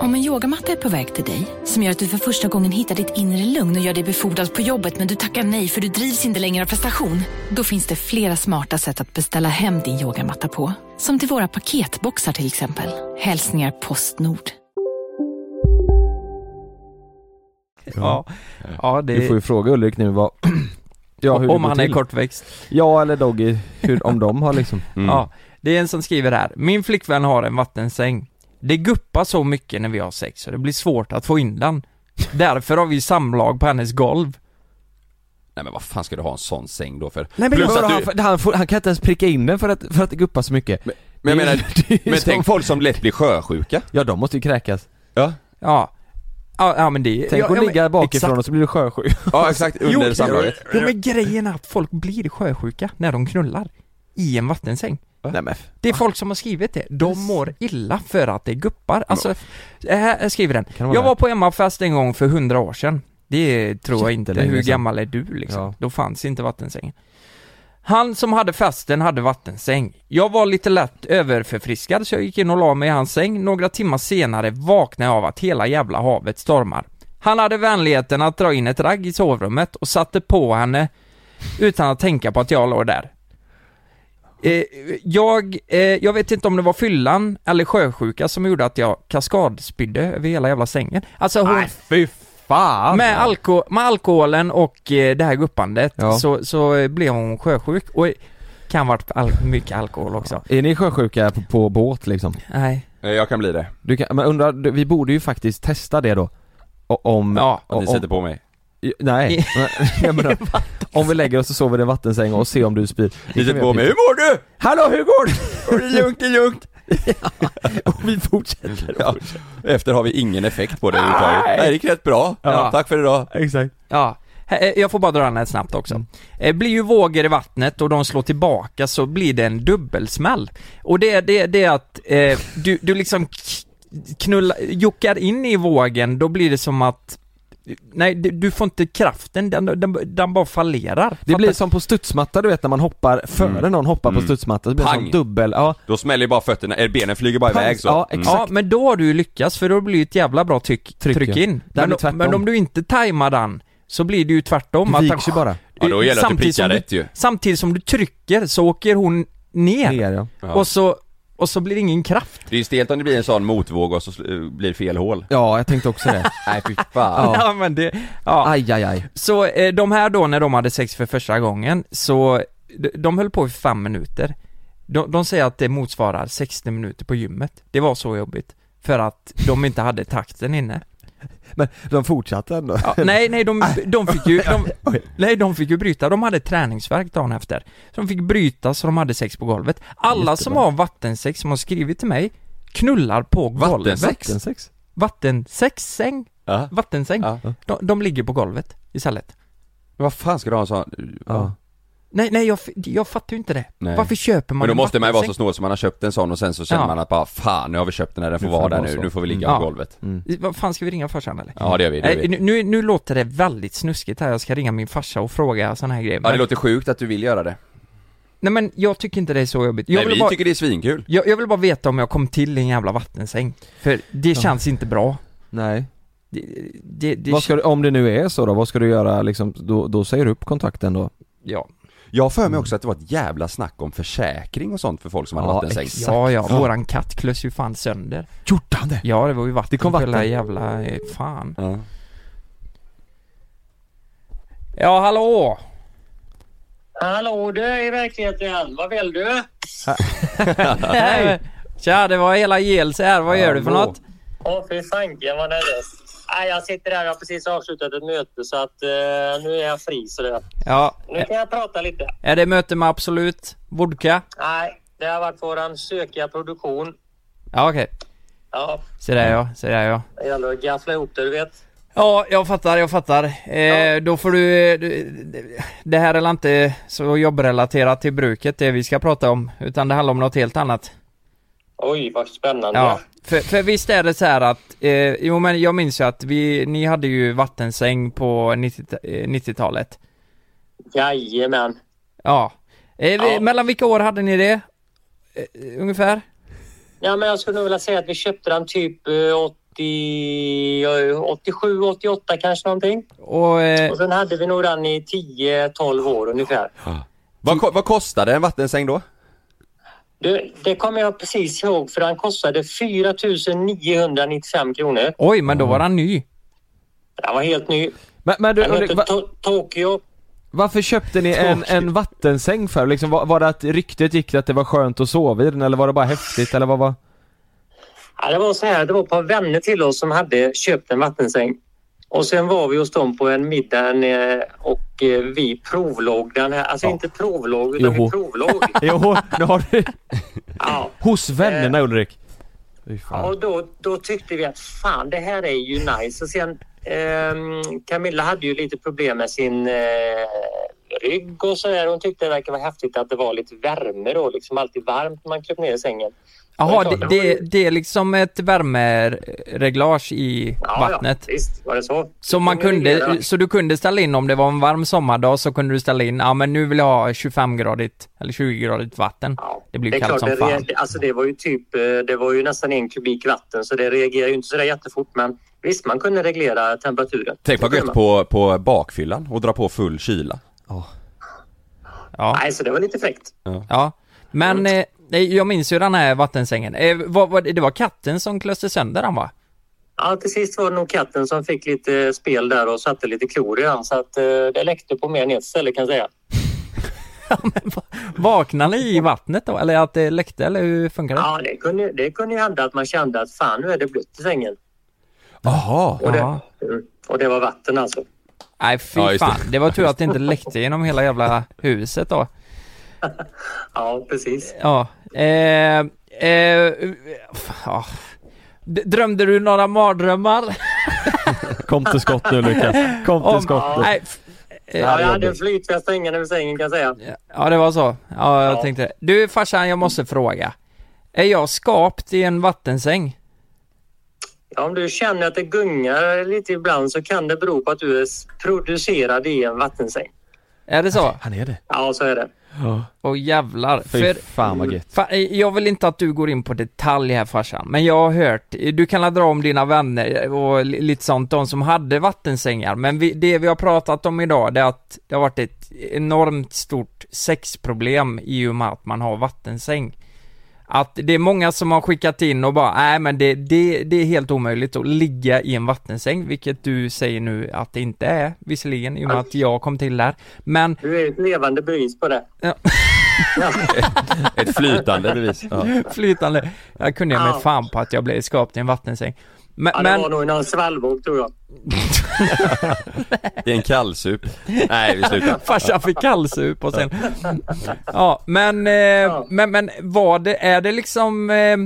Om en yogamatta är på väg till dig, som gör att du för första gången hittar ditt inre lugn och gör dig befordrad på jobbet men du tackar nej för du drivs inte längre av prestation. Då finns det flera smarta sätt att beställa hem din yogamatta på. Som till våra paketboxar till exempel. Hälsningar Postnord.
Ja, ja det...
Du får ju fråga Ulrik nu vad... ja, hur det
om
går
han
till.
är kortväxt.
Ja, eller Doggy, hur, om de har liksom...
Mm.
Ja, det är en som skriver här. Min flickvän har en vattensäng. Det guppar så mycket när vi har sex så det blir svårt att få in den. Därför har vi samlag på hennes golv.
Nej men vad fan ska du ha en sån säng då för?
Nej men
Plus
vadå,
att du,
han, får- han, får, han kan inte ens pricka in den för att, för att det guppar så mycket. Men,
men jag menar, men tänk folk som lätt blir sjösjuka.
Ja de måste ju kräkas.
Ja.
Ja. Ja, ja men det...
Tänk
ja, ja,
att
men-
ligga bakifrån
exakt.
och så blir du sjösjuk.
Ja exakt, under samlaget.
Jo, men grejen är att folk blir sjösjuka när de knullar. I en vattensäng.
Nej, men.
Det är folk som har skrivit det. De mår illa för att det guppar. Alltså, här skriver den.
vara
Jag
det?
var på hemmafest en gång för hundra år sedan. Det tror jag inte.
Jättelänge
Hur
sedan.
gammal är du liksom?
Ja.
Då fanns inte vattensängen. Han som hade festen hade vattensäng. Jag var lite lätt överförfriskad så jag gick in och la mig i hans säng. Några timmar senare vaknade jag av att hela jävla havet stormar. Han hade vänligheten att dra in ett ragg i sovrummet och satte på henne utan att tänka på att jag låg där. Eh, jag, eh, jag vet inte om det var fyllan eller sjösjuka som gjorde att jag kaskadspydde över hela jävla sängen. Alltså hon...
Nej, fy fan!
Med, alko med alkoholen och eh, det här guppandet så, så eh, blev hon sjösjuk och kan varit al mycket alkohol också.
Är ni sjösjuka på, på båt liksom?
Nej.
Eh, Jag kan bli det.
Du kan, men undrar, du- vi borde ju faktiskt testa det då. O- Om...
Ja,
om,
ni sätter på mig.
I- Nej, jag menar, om vi lägger oss och sover i en vattensäng och ser om du spyr.
Ni sätter på mig, hur mår du?
Hallå hur går det?
Det är lugnt, det är lugnt.
och vi fortsätter.
Ja. Efter har vi ingen effekt på det överhuvudtaget.
Nej.
Nej det gick rätt bra.
Ja.
Ja. Tack för idag.
Exakt.
Ja. eh, jag får bara dra den här snabbt också. Eh, Blir ju vågor i vattnet och de slår tillbaka så blir det en dubbelsmäll. Och det, det, det är att eh, du, du liksom k- knulla, juckar in i vågen, då blir det som att Nej, du- du får inte kraften, den, den, den bara fallerar.
Det blir som på studsmatta du vet när man hoppar före
Mm.
någon hoppar på
Mm.
studsmatta, så blir det
Pang.
som dubbel, ja.
Då smäller ju bara fötterna, eller benen flyger bara
Pang.
iväg så. Mm.
Ja, exakt.
Ja, men då har du ju lyckats för då blir det ett jävla bra tryck, tryck,
ja.
in.
Där
Men,
blir
om-
tvärtom.
men om du inte tajmar den så blir det ju tvärtom.
Du
att
viks ju bara. Ja, då gäller det att du
Samtidigt
prickar
som
rätt ju.
Samtidigt som du trycker så åker hon ner.
Ner, ja. Ja.
Och, så, och så blir det ingen kraft.
Det är ju stelt om det blir en sån motvåg och så sl- blir det fel hål.
Ja, jag tänkte också det.
Nej fy fan.
Ja, men det, ja.
Aj, aj, aj.
Så eh, de här då när de hade sex för första gången så de, de höll på i fem minuter. De, de säger att det motsvarar 60 minuter på gymmet. Det var så jobbigt. För att de inte hade takten inne.
Men de fortsatte ändå?
Ja, nej, nej, de, de fick ju, de, nej, de fick ju bryta, de hade träningsvärk dagen efter. Så de fick bryta så de hade sex på golvet. Alla som har vattensex som har skrivit till mig, knullar på golvet.
Vattensex? Vattensex?
Vattensexsäng? Vattensäng? De, de ligger på golvet istället.
Men vad fan ska du ha en sån? Ja.
Nej, nej, jag, f- jag fattar ju inte det.
Nej.
Varför köper man
Men då
en
måste man ju vara så
vattensäng?
snål så man har köpt en sån och sen så känner
Ja.
man att bara fan nu har vi köpt den här, den får
Nu får
vara
det
där
vara
nu,
så.
nu får vi ligga
Mm.
på
Ja.
golvet.
I- Vad fan, ska vi ringa farsan eller?
Ja, det gör vi, det gör vi.
Nej, nu, nu, nu låter det väldigt snuskigt här, jag ska ringa min farsa och fråga sådana här grejer.
Ja det
Men-
låter sjukt att du vill göra det.
Nej men jag tycker inte det är så jobbigt. Jag
Nej
vill
vi
bara-
tycker det är svinkul.
Jag, jag vill bara veta om jag kom till i en jävla vattensäng. För det känns inte bra.
Nej.
Det, det, det,
Vad ska du, om det nu är så då, vad ska du göra liksom, då, då säger du upp kontakten då?
Ja.
Jag har för mig också att det var ett jävla snack om försäkring och sånt för folk som hade
Ja,
vattensäng.
exakt. Ja, ja, våran katt klös ju fan sönder.
Gjorde han det?
Ja, det var ju vatten
Det kom
på hela
vatten.
jävla... eh, Fan.
Ja.
Ja, hallå!
Hallå du, i verkligheten igen. Vad vill du?
Hej! Tja, det var hela Gels här. Vad gör du för
Hallå.
något?
Åh fy fanken vad nervös. Nej, jag sitter här. Jag har precis avslutat ett möte så att eh, nu är jag fri. Så det.
Ja.
Nu kan jag prata lite.
Är det möte med Absolut? Vodka?
Nej, det har varit våran sökiga produktion.
Ja, okej.
Ja,
Så där ja, så där ja.
det gäller att gaffla ihop det du vet.
Ja, jag fattar, jag fattar. Eh, Då får du... eh, du- Det här är inte så jobbrelaterat till bruket, det vi ska prata om. Utan det handlar om något helt annat.
Oj, vad spännande.
Ja, för, för visst är det så här att, eh, jo men jag minns ju att vi, ni hade ju vattensäng på 90, eh, 90-talet.
Jajamän.
Ja. Eh, vi,
Ja.
Mellan vilka år hade ni det? Eh, ungefär?
Ja, men jag skulle nog vilja säga att vi köpte den typ eh, 80, eh, 87, 88 kanske någonting.
Och, eh,
Och sen hade vi nog den i 10-12 år ungefär.
Vad, ko- vad kostade en vattensäng då?
Du, det kommer jag precis ihåg för den kostade 4 995 kronor.
Oj, men då var han ny.
Den var helt ny.
Men, men du,
den hette
va-
To- Tokyo.
varför köpte ni en, en vattensäng för? Liksom, var, var det att ryktet gick att det var skönt att sova i den eller var det bara häftigt eller vad var?
Ja, det var så här, det var ett par vänner till oss som hade köpt en vattensäng. Och sen var vi hos dem på en middag eh, och eh, vi provlåg den här. Alltså inte provlåg, utan
Joho.
vi provlåg.
Jo, nu har du...
Ja. Eh.
Hos vännerna Ulrik. Fy
Ja,
fan.
Och då, då tyckte vi att fan det här är ju nice. Och sen ehm, Camilla hade ju lite problem med sin eh, rygg och sådär. Hon tyckte det verkade vara häftigt att det var lite värme då. Liksom alltid varmt när man kröp ner i sängen.
Jaha,
klart,
det,
det var
det,
ju-
det är liksom ett värmereglage i vattnet.
Ja, visst var det så.
Så, man
Hon reglerade
kunde,
vattnet.
så du kunde ställa in om det var en varm sommardag så kunde du ställa in, ja men nu vill jag ha 25-gradigt eller 20-gradigt vatten. det blir
Det är
kallt
klart,
som
det,
fan.
reager- alltså det var ju typ, eh, det var ju nästan en kubik vatten så det reagerar ju inte så där jättefort men visst man kunde reglera temperaturen.
Tänk vad
Så kunde
gött
man.
på, på bakfyllan och dra på full kyla.
Ja.
Nej, så det var lite fräckt.
Ja. Men eh, nej, jag minns ju den här vattensängen. Eh, vad, vad, det var katten som klöste sönder den va?
Ja, till sist var det nog katten som fick lite spel där och satte lite klor i den så att eh, det läckte på mer än ett ställe kan jag säga.
Vaknade ni i vattnet då? Eller att det läckte eller hur funkar det?
Ja, det kunde, det kunde ju hända att man kände att fan nu är det blött i sängen.
Jaha.
Och det, och det var vatten alltså.
Nej fy
Ja, just det.
fan, det var tur att det inte läckte genom hela jävla huset då.
Ja, precis.
Ja. Eh, eh, f- ja. D- Drömde du några mardrömmar?
Kom till skott nu Lukas. Kom till
Om-
skott nu.
Nej, f- Eh,
Ja, jag hade en flytväst hängande över sängen kan jag säga.
Ja, det var så. Ja, jag
Ja.
tänkte. Du farsan, jag måste fråga. Är jag skapt i en vattensäng?
Ja, om du känner att det gungar lite ibland så kan det bero på att du är s- producerad i en vattensäng.
Är det så?
Han är det.
Ja, så är det.
Ja.
Och jävlar.
Fy fan, vad gött.
Fa- eh, jag vill inte att du går in på detalj här farsan, men jag har hört, eh, du kan dra om dina vänner eh, och li- lite sånt, de som hade vattensängar, men vi, det vi har pratat om idag det är att det har varit ett enormt stort sexproblem i och med att man har vattensäng. Att det är många som har skickat in och bara, nej men det, det, det är helt omöjligt att ligga i en vattensäng, vilket du säger nu att det inte är, visserligen, i och med att jag kom till där. Men
Alltså. Du är ett levande bevis på det.
Ett flytande bevis.
Flytande. Jag kunde ge mig
Ja.
fan på att jag blev skapt i en vattensäng. Men,
Ja, det
men
var nog någon svallvåg tror jag.
I en kallsup. Nej, vi slutar.
farsan fick kallsup och sen... Ja, men, eh, men, men vad det, är det liksom eh,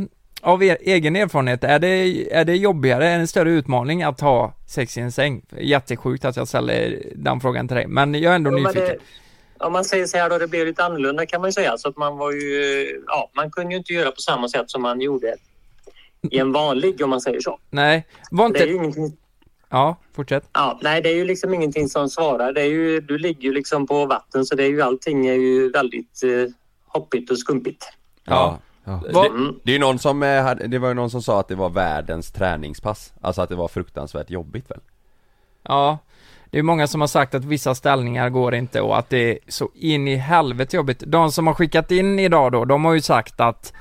av er egen erfarenhet, är det, är det jobbigare, är det en större utmaning att ha sex i en säng? Jättesjukt att jag ställer den frågan till dig, men jag är ändå
Jo, men
nyfiken.
det, om man säger så här då, det blev lite annorlunda kan man ju säga. Så att man var ju, eh, ja, man kunde ju inte göra på samma sätt som man gjorde i en vanlig om man säger så.
Nej, var inte...
Det är ju ingenting,
Ja, fortsätt.
ja, nej, det är ju liksom ingenting som svarar. Det är ju, du ligger ju liksom på vatten så det är ju allting är ju väldigt eh, hoppigt och skumpigt.
Ja.
Vad-
Det, det är ju någon som, eh, hade- det var ju någon som sa att det var världens träningspass. Alltså att det var fruktansvärt jobbigt väl?
Ja, det är många som har sagt att vissa ställningar går inte och att det är så in i helvete jobbigt. De som har skickat in idag då, de har ju sagt att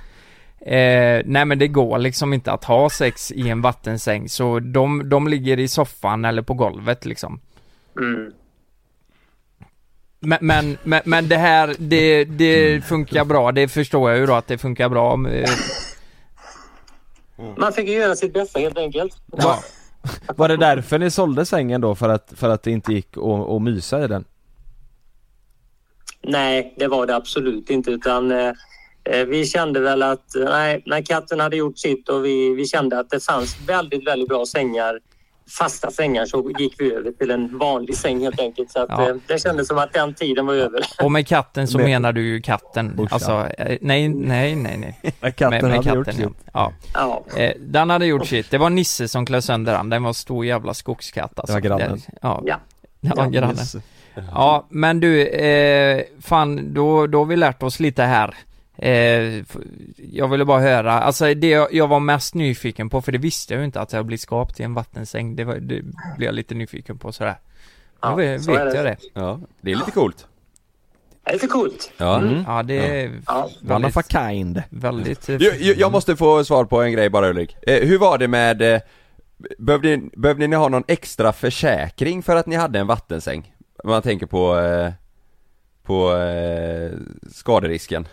eh, nej men det går liksom inte att ha sex i en vattensäng så de, de ligger i soffan eller på golvet liksom.
Mm.
Men, men, men, men det här, det, det funkar bra, det förstår jag ju då att det funkar bra. om, eh,
Man fick ju göra sitt bästa helt enkelt.
Va, var det därför ni sålde sängen då? För att, för att det inte gick att, att mysa i den?
Nej, det var det absolut inte. Utan, eh, eh, vi kände väl att eh, nej, när katten hade gjort sitt och vi, vi kände att det fanns väldigt, väldigt bra sängar, fasta sängar, så gick vi över till en vanlig säng helt enkelt. Så att,
Ja.
eh, det kändes som att den tiden var över.
Och med katten så
Men-
menar du ju katten.
Morsan.
Alltså, eh, nej, nej, nej, nej. Med
katten hade gjort sitt.
ja.
Ja.
Eh, den hade gjort sitt. Det var Nisse som klös sönder den. Den var en stor jävla skogskatt alltså.
Det var grannen.
Det- Ja.
Ja.
Det var
Ja,
grannen.
Nisse.
Ja, men du, eh, fan, då, då har vi lärt oss lite här. Eh, f- jag ville bara höra, alltså det jag, jag var mest nyfiken på, för det visste jag ju inte att jag blivit skapt i en vattensäng. Det, var, det blev jag lite nyfiken på sådär.
Ja,
då vet,
så är
vet
det.
jag det.
Ja, det är lite coolt.
Det är lite coolt. Mm.
Ja.
Ja, det är
Ja.
One
väldigt...
of a kind.
Väldigt... eh,
Jag, jag- jag måste få svar på en grej bara Ulrik. Eh, hur var det med, eh, behövde, ni- behövde ni ha någon extra försäkring för att ni hade en vattensäng? Om man tänker på, eh, på eh, skaderisken.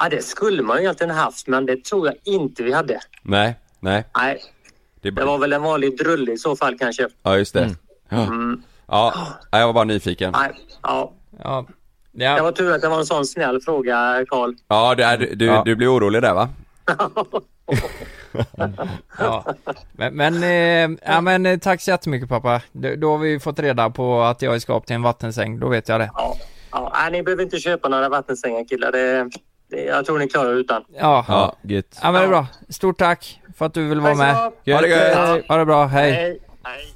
Ja, det skulle man ju egentligen haft, men det tror jag inte vi hade.
Nej, nej.
Nej,
Det,
det
är bara-
var väl en vanlig drulle i så fall kanske. Mm.
Ja just det. Ja. Ja, jag var bara nyfiken.
Nej, ja.
Ja.
Det var tur att det var en sån snäll fråga, Karl.
Ja, det är, du, du,
Ja.
du blir orolig där va?
Ja. Men, men, eh, ja, men eh, tack så jättemycket pappa. Då, då har vi ju fått reda på att jag är skapt till en vattensäng, då vet jag det.
Ja, ja, nej, ni behöver inte köpa några vattensängar killar. Det, det, jag tror ni klarar er utan.
Ja,
Ja,
gött.
ja men det är bra. Stort tack för att du vill vara med.
Tack så mycket. Ha det gött.
Ha det bra, hej.
Hej. Hej.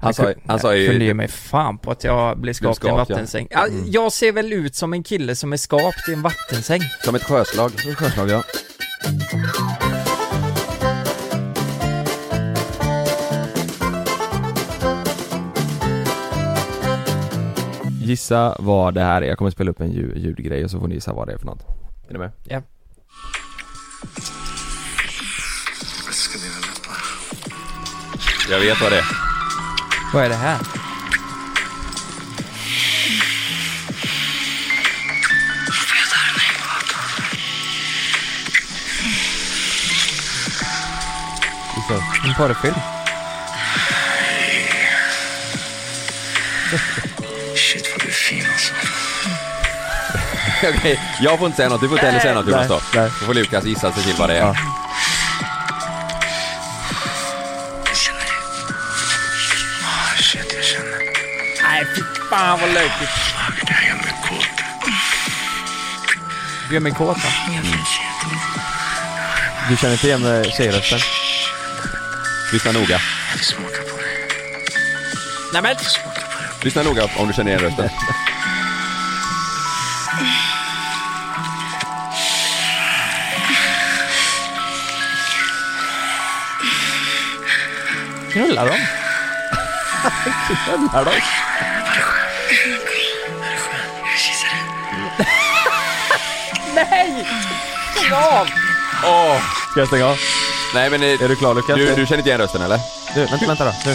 Han sa, han sa
Jag kunde ge
ju...
mig fan på att jag blev skapt till en
skapt, ja.
vattensäng. Ja.
Mm.
Jag ser väl ut som en kille som är skapt i en vattensäng.
Som ett sjöslag. Som
ett sjöslag ja. Gissa vad det här är. Jag kommer spela upp en ljud, ljudgrej och så får ni gissa vad det är för något. Är ni med?
Ja.
Väska dina läppar.
Jag vet vad det är.
Vad är det här? En porrfilm.
Shit vad du är fin alltså.
Okej, jag får inte säga något, du får inte heller säga något Jonas då. Då får Lukas gissa sig till vad det är.
Jag känner det. Ah shit jag känner.
Nej, fy fan vad lökigt. Du gör mig kåt va?
Du känner inte igen eh, tjejrösten?
Lyssna noga.
Nej men!
Lyssna noga om du känner igen rösten.
Knullar de? Knullar de? Nej! Lägg av!
Åh!
Ska jag stänga av?
Nej men... Är
du klar Lukas?
Du, du känner inte igen rösten eller?
Du, vänta, vänta då. Du.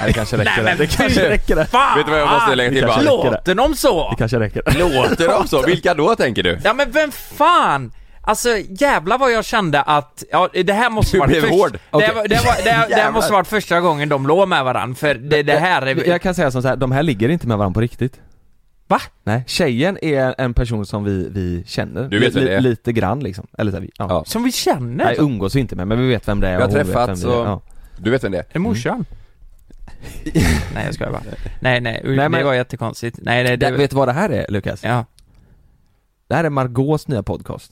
Nej, det kanske räcker
Nej, men
där. Det kanske
fy
räcker där.
fan!
Vet du vad jag måste lägga
Det
till bara?
kanske räcker där.
Ah, Låter de så?
Det kanske räcker.
Låter de så? Vilka då tänker du?
Ja men vem fan! Alltså jävlar vad jag kände att, ja det här måste
Du
varit
blev
först-
hård.
Det, här
Okej.
var- det, här var- det, här- det här
Jävlar.
måste varit första gången de låg med varandra för det, det här
Eh, Jag,
är...
jag kan säga som så här, de här ligger inte med varandra på riktigt.
Va?
Nej, tjejen är en person som vi, vi känner.
Du vet vem
Li-
det är.
Lite grann liksom. Eller så här, vi- ja.
Som vi känner?
Nej, umgås vi inte med, men vi vet vem det är
Vi har
och hon vet
träffats
vem det är.
och...
Ja.
Du vet vem det är?
Är morsan? nej jag skojar bara. Nej nej, det
men-
var jättekonstigt. Nej, nej
det, vet du vad det här är Lukas?
Ja.
Det här är Margaux nya podcast.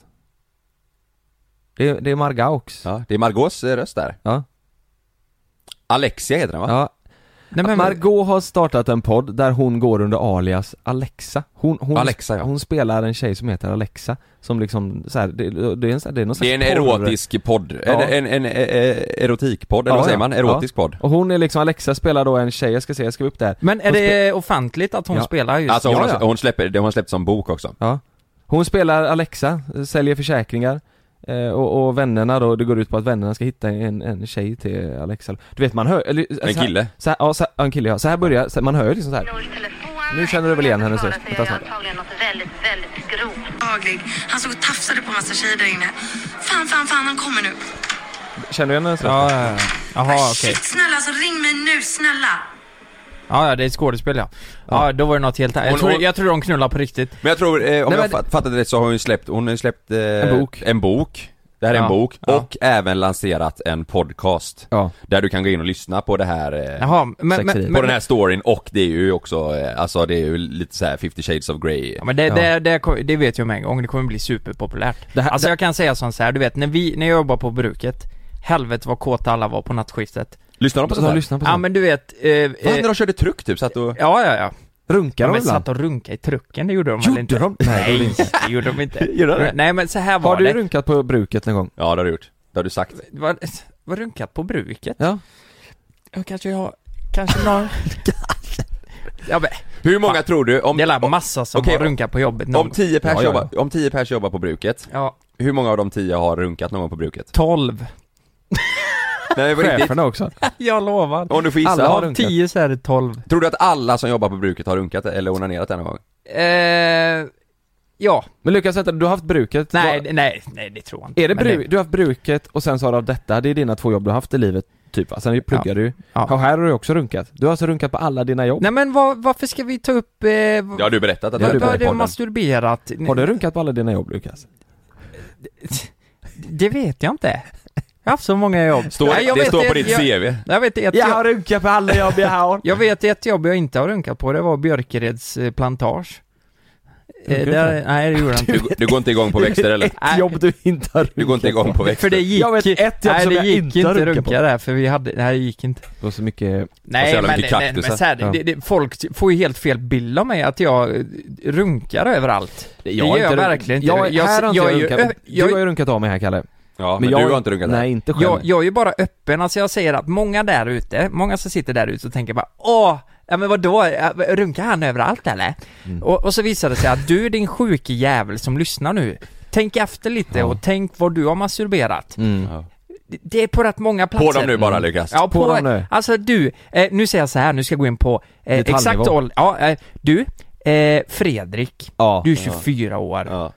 Det är, det är Margaux.
Ja, det är Margaux röst där.
Ja.
Alexia heter den va?
Ja. Margot har startat en podd där hon går under alias Alexa. Hon, hon,
Alexa, ja.
hon spelar en tjej som heter Alexa, som liksom så här, det, det är en, så här- det är någon
Det är en
slags porr-
erotisk podd.
Ja.
En, en, en, eh, erotikpodd, eller vad säger man? Erotisk podd.
Och hon är liksom, Alexa spelar då en tjej, jag ska se, jag ska upp där.
Men är
hon spe-
det offentligt att hon
Ja.
spelar just
Alltså hon,
Ja,
har,
ja.
hon släpper, det har hon släppt som bok också.
Ja. Hon spelar Alexa, eh, säljer försäkringar. eh, Och, och vännerna då, det går ut på att vännerna ska hitta en, en tjej till Alexa. Du vet man hör, eller,
En
så här-
kille.
Så här, ja, så här, ja, en kille ja. Så här börjar, så här, man hör ju liksom så här. Nu känner du väl igen hennes röst? Vänta snart.
antagligen något väldigt, väldigt grovt. Daglig. Han stod och tafsade på en massa tjejer där inne. Fan, fan, fan, han kommer nu.
Känner du igen hennes
Ja, ja, ja. Jaha okej.
Shit, snälla, alltså ring mig nu, snälla.
Ja, ja, det är ett skådespel ja. ja. då var det något helt annat. Jag
Hon-
tror,
hon-
jag tror de knullar på riktigt.
Men jag tror, eh, om
Nej,
jag
men-
fa- fattade rätt så har hon ju släppt, hon har ju släppt eh,
En bok.
en bok. Det här är
Ja.
en bok,
Ja.
och även lanserat en podcast. Där du kan gå in och lyssna på det här, eh,
Jaha, men- men-
på
men-
den här storyn, och det är ju också, eh, alltså det är ju lite så här 50 shades of grey.
Ja, men det, det, det, kom- det vet jag med en gång, det kommer bli superpopulärt.
Det här-
alltså
det-
jag kan säga sånt så här, du vet när vi, när jag jobbade på bruket, helvete vad kåta alla var på nattskiftet.
Lyssnar de på sånt här? Lyssnar på
Ja
sånt.
men du vet... Eh,
Vad hände när de körde truck typ? Satt och...
Ja, ja, ja.
Runkar
de
de
men
ibland?
satt och runka i trucken, det gjorde de väl inte?
de? Nej, det gjorde de
Nej,
inte.
det gjorde de inte.
Gjorde de det?
Nej men så här var
Har du
det.
runkat på bruket någon gång?
Ja det har du gjort, det har du sagt.
Var, var runkat på bruket?
Ja.
Jag kanske har, kanske någon... ja, men,
Hur många tror du? Om,
det är la massa som
Okej,
har runkat på jobbet någon
Om 10 pers,
Ja, ja, ja.
Jobbar, om 10 pers jobbar på bruket,
Ja.
hur många av de 10 har runkat någon gång på bruket?
12
Nej, på riktigt.
Cheferna också?
Jag lovar.
Om du får gissa.
Alla har tio så är det 12.
Tror du att alla som jobbar på bruket har runkat eller onanerat en gång?
Eh, ja.
Men Lukas vänta, du har haft bruket?
Nej,
Du
det- nej, nej det tror jag inte.
har, är det
Men
bru, du har haft bruket och sen så har du haft detta, det är dina två jobb du har haft i livet typ va? Sen pluggar du ju. Och här har du också runkat. Du har alltså runkat på alla dina jobb?
Nej men vad, varför ska vi ta upp... Eh,
Det har du berättat att
det
du
har
berättat i
du
podden.
masturberat.
Har du runkat på alla dina jobb Lukas?
Det vet jag inte. Jag har haft så många jobb.
Står-
jag
det
vet
står på
ett-
ditt
jag,
CV.
Jag vet ett
Jag har runkat på alla jobb jag har.
Jag vet ett jobb jag inte har runkat på, det var Björkereds eh, plantage. Eh,
Runkar
där-
inte?
nej det gjorde jag inte.
Du, du går inte igång på växter eller?
Nej.
jobb du inte har runkat
Du går inte igång på växter?
För det gick,
Jag vet ett jobb
nej,
som
det
jag
gick
inte har
inte
runkat
runka
på.
där för vi hade, nej det gick inte.
Det var så mycket...
Och så
Nej
jävla
men,
mycket
nej, men
kaktusar.
så här, det-
Ja.
det, det, folk får ju helt fel bild av mig att jag eh, runkar överallt. Det
har
gör jag
runk-
verkligen inte.
Jag, här har inte jag,
är ju
runkat.
ö- jag
du
är-
har ju runkat av mig här Kalle.
Ja, men du har inte runkat där.
Nej, inte själv.
jag, jag är ju bara öppen, alltså jag säger att många där ute, många som sitter där ute och tänker bara åh, ja men vadå, Ja, runkar han överallt eller?
Mm.
Och, och så visar det sig att du din sjuke jävel som lyssnar nu, tänk efter lite och tänk vad du har masturberat.
Mm.
Det- Det är på rätt många platser.
dem nu bara, Lukas.
Ja, på,
På dem nu.
Alltså du, eh, nu säger jag så här, nu ska jag gå in på eh,
Detaljnivå.
exakt ålder. Ja, eh, du, eh, Fredrik, du är Mm. 24 år.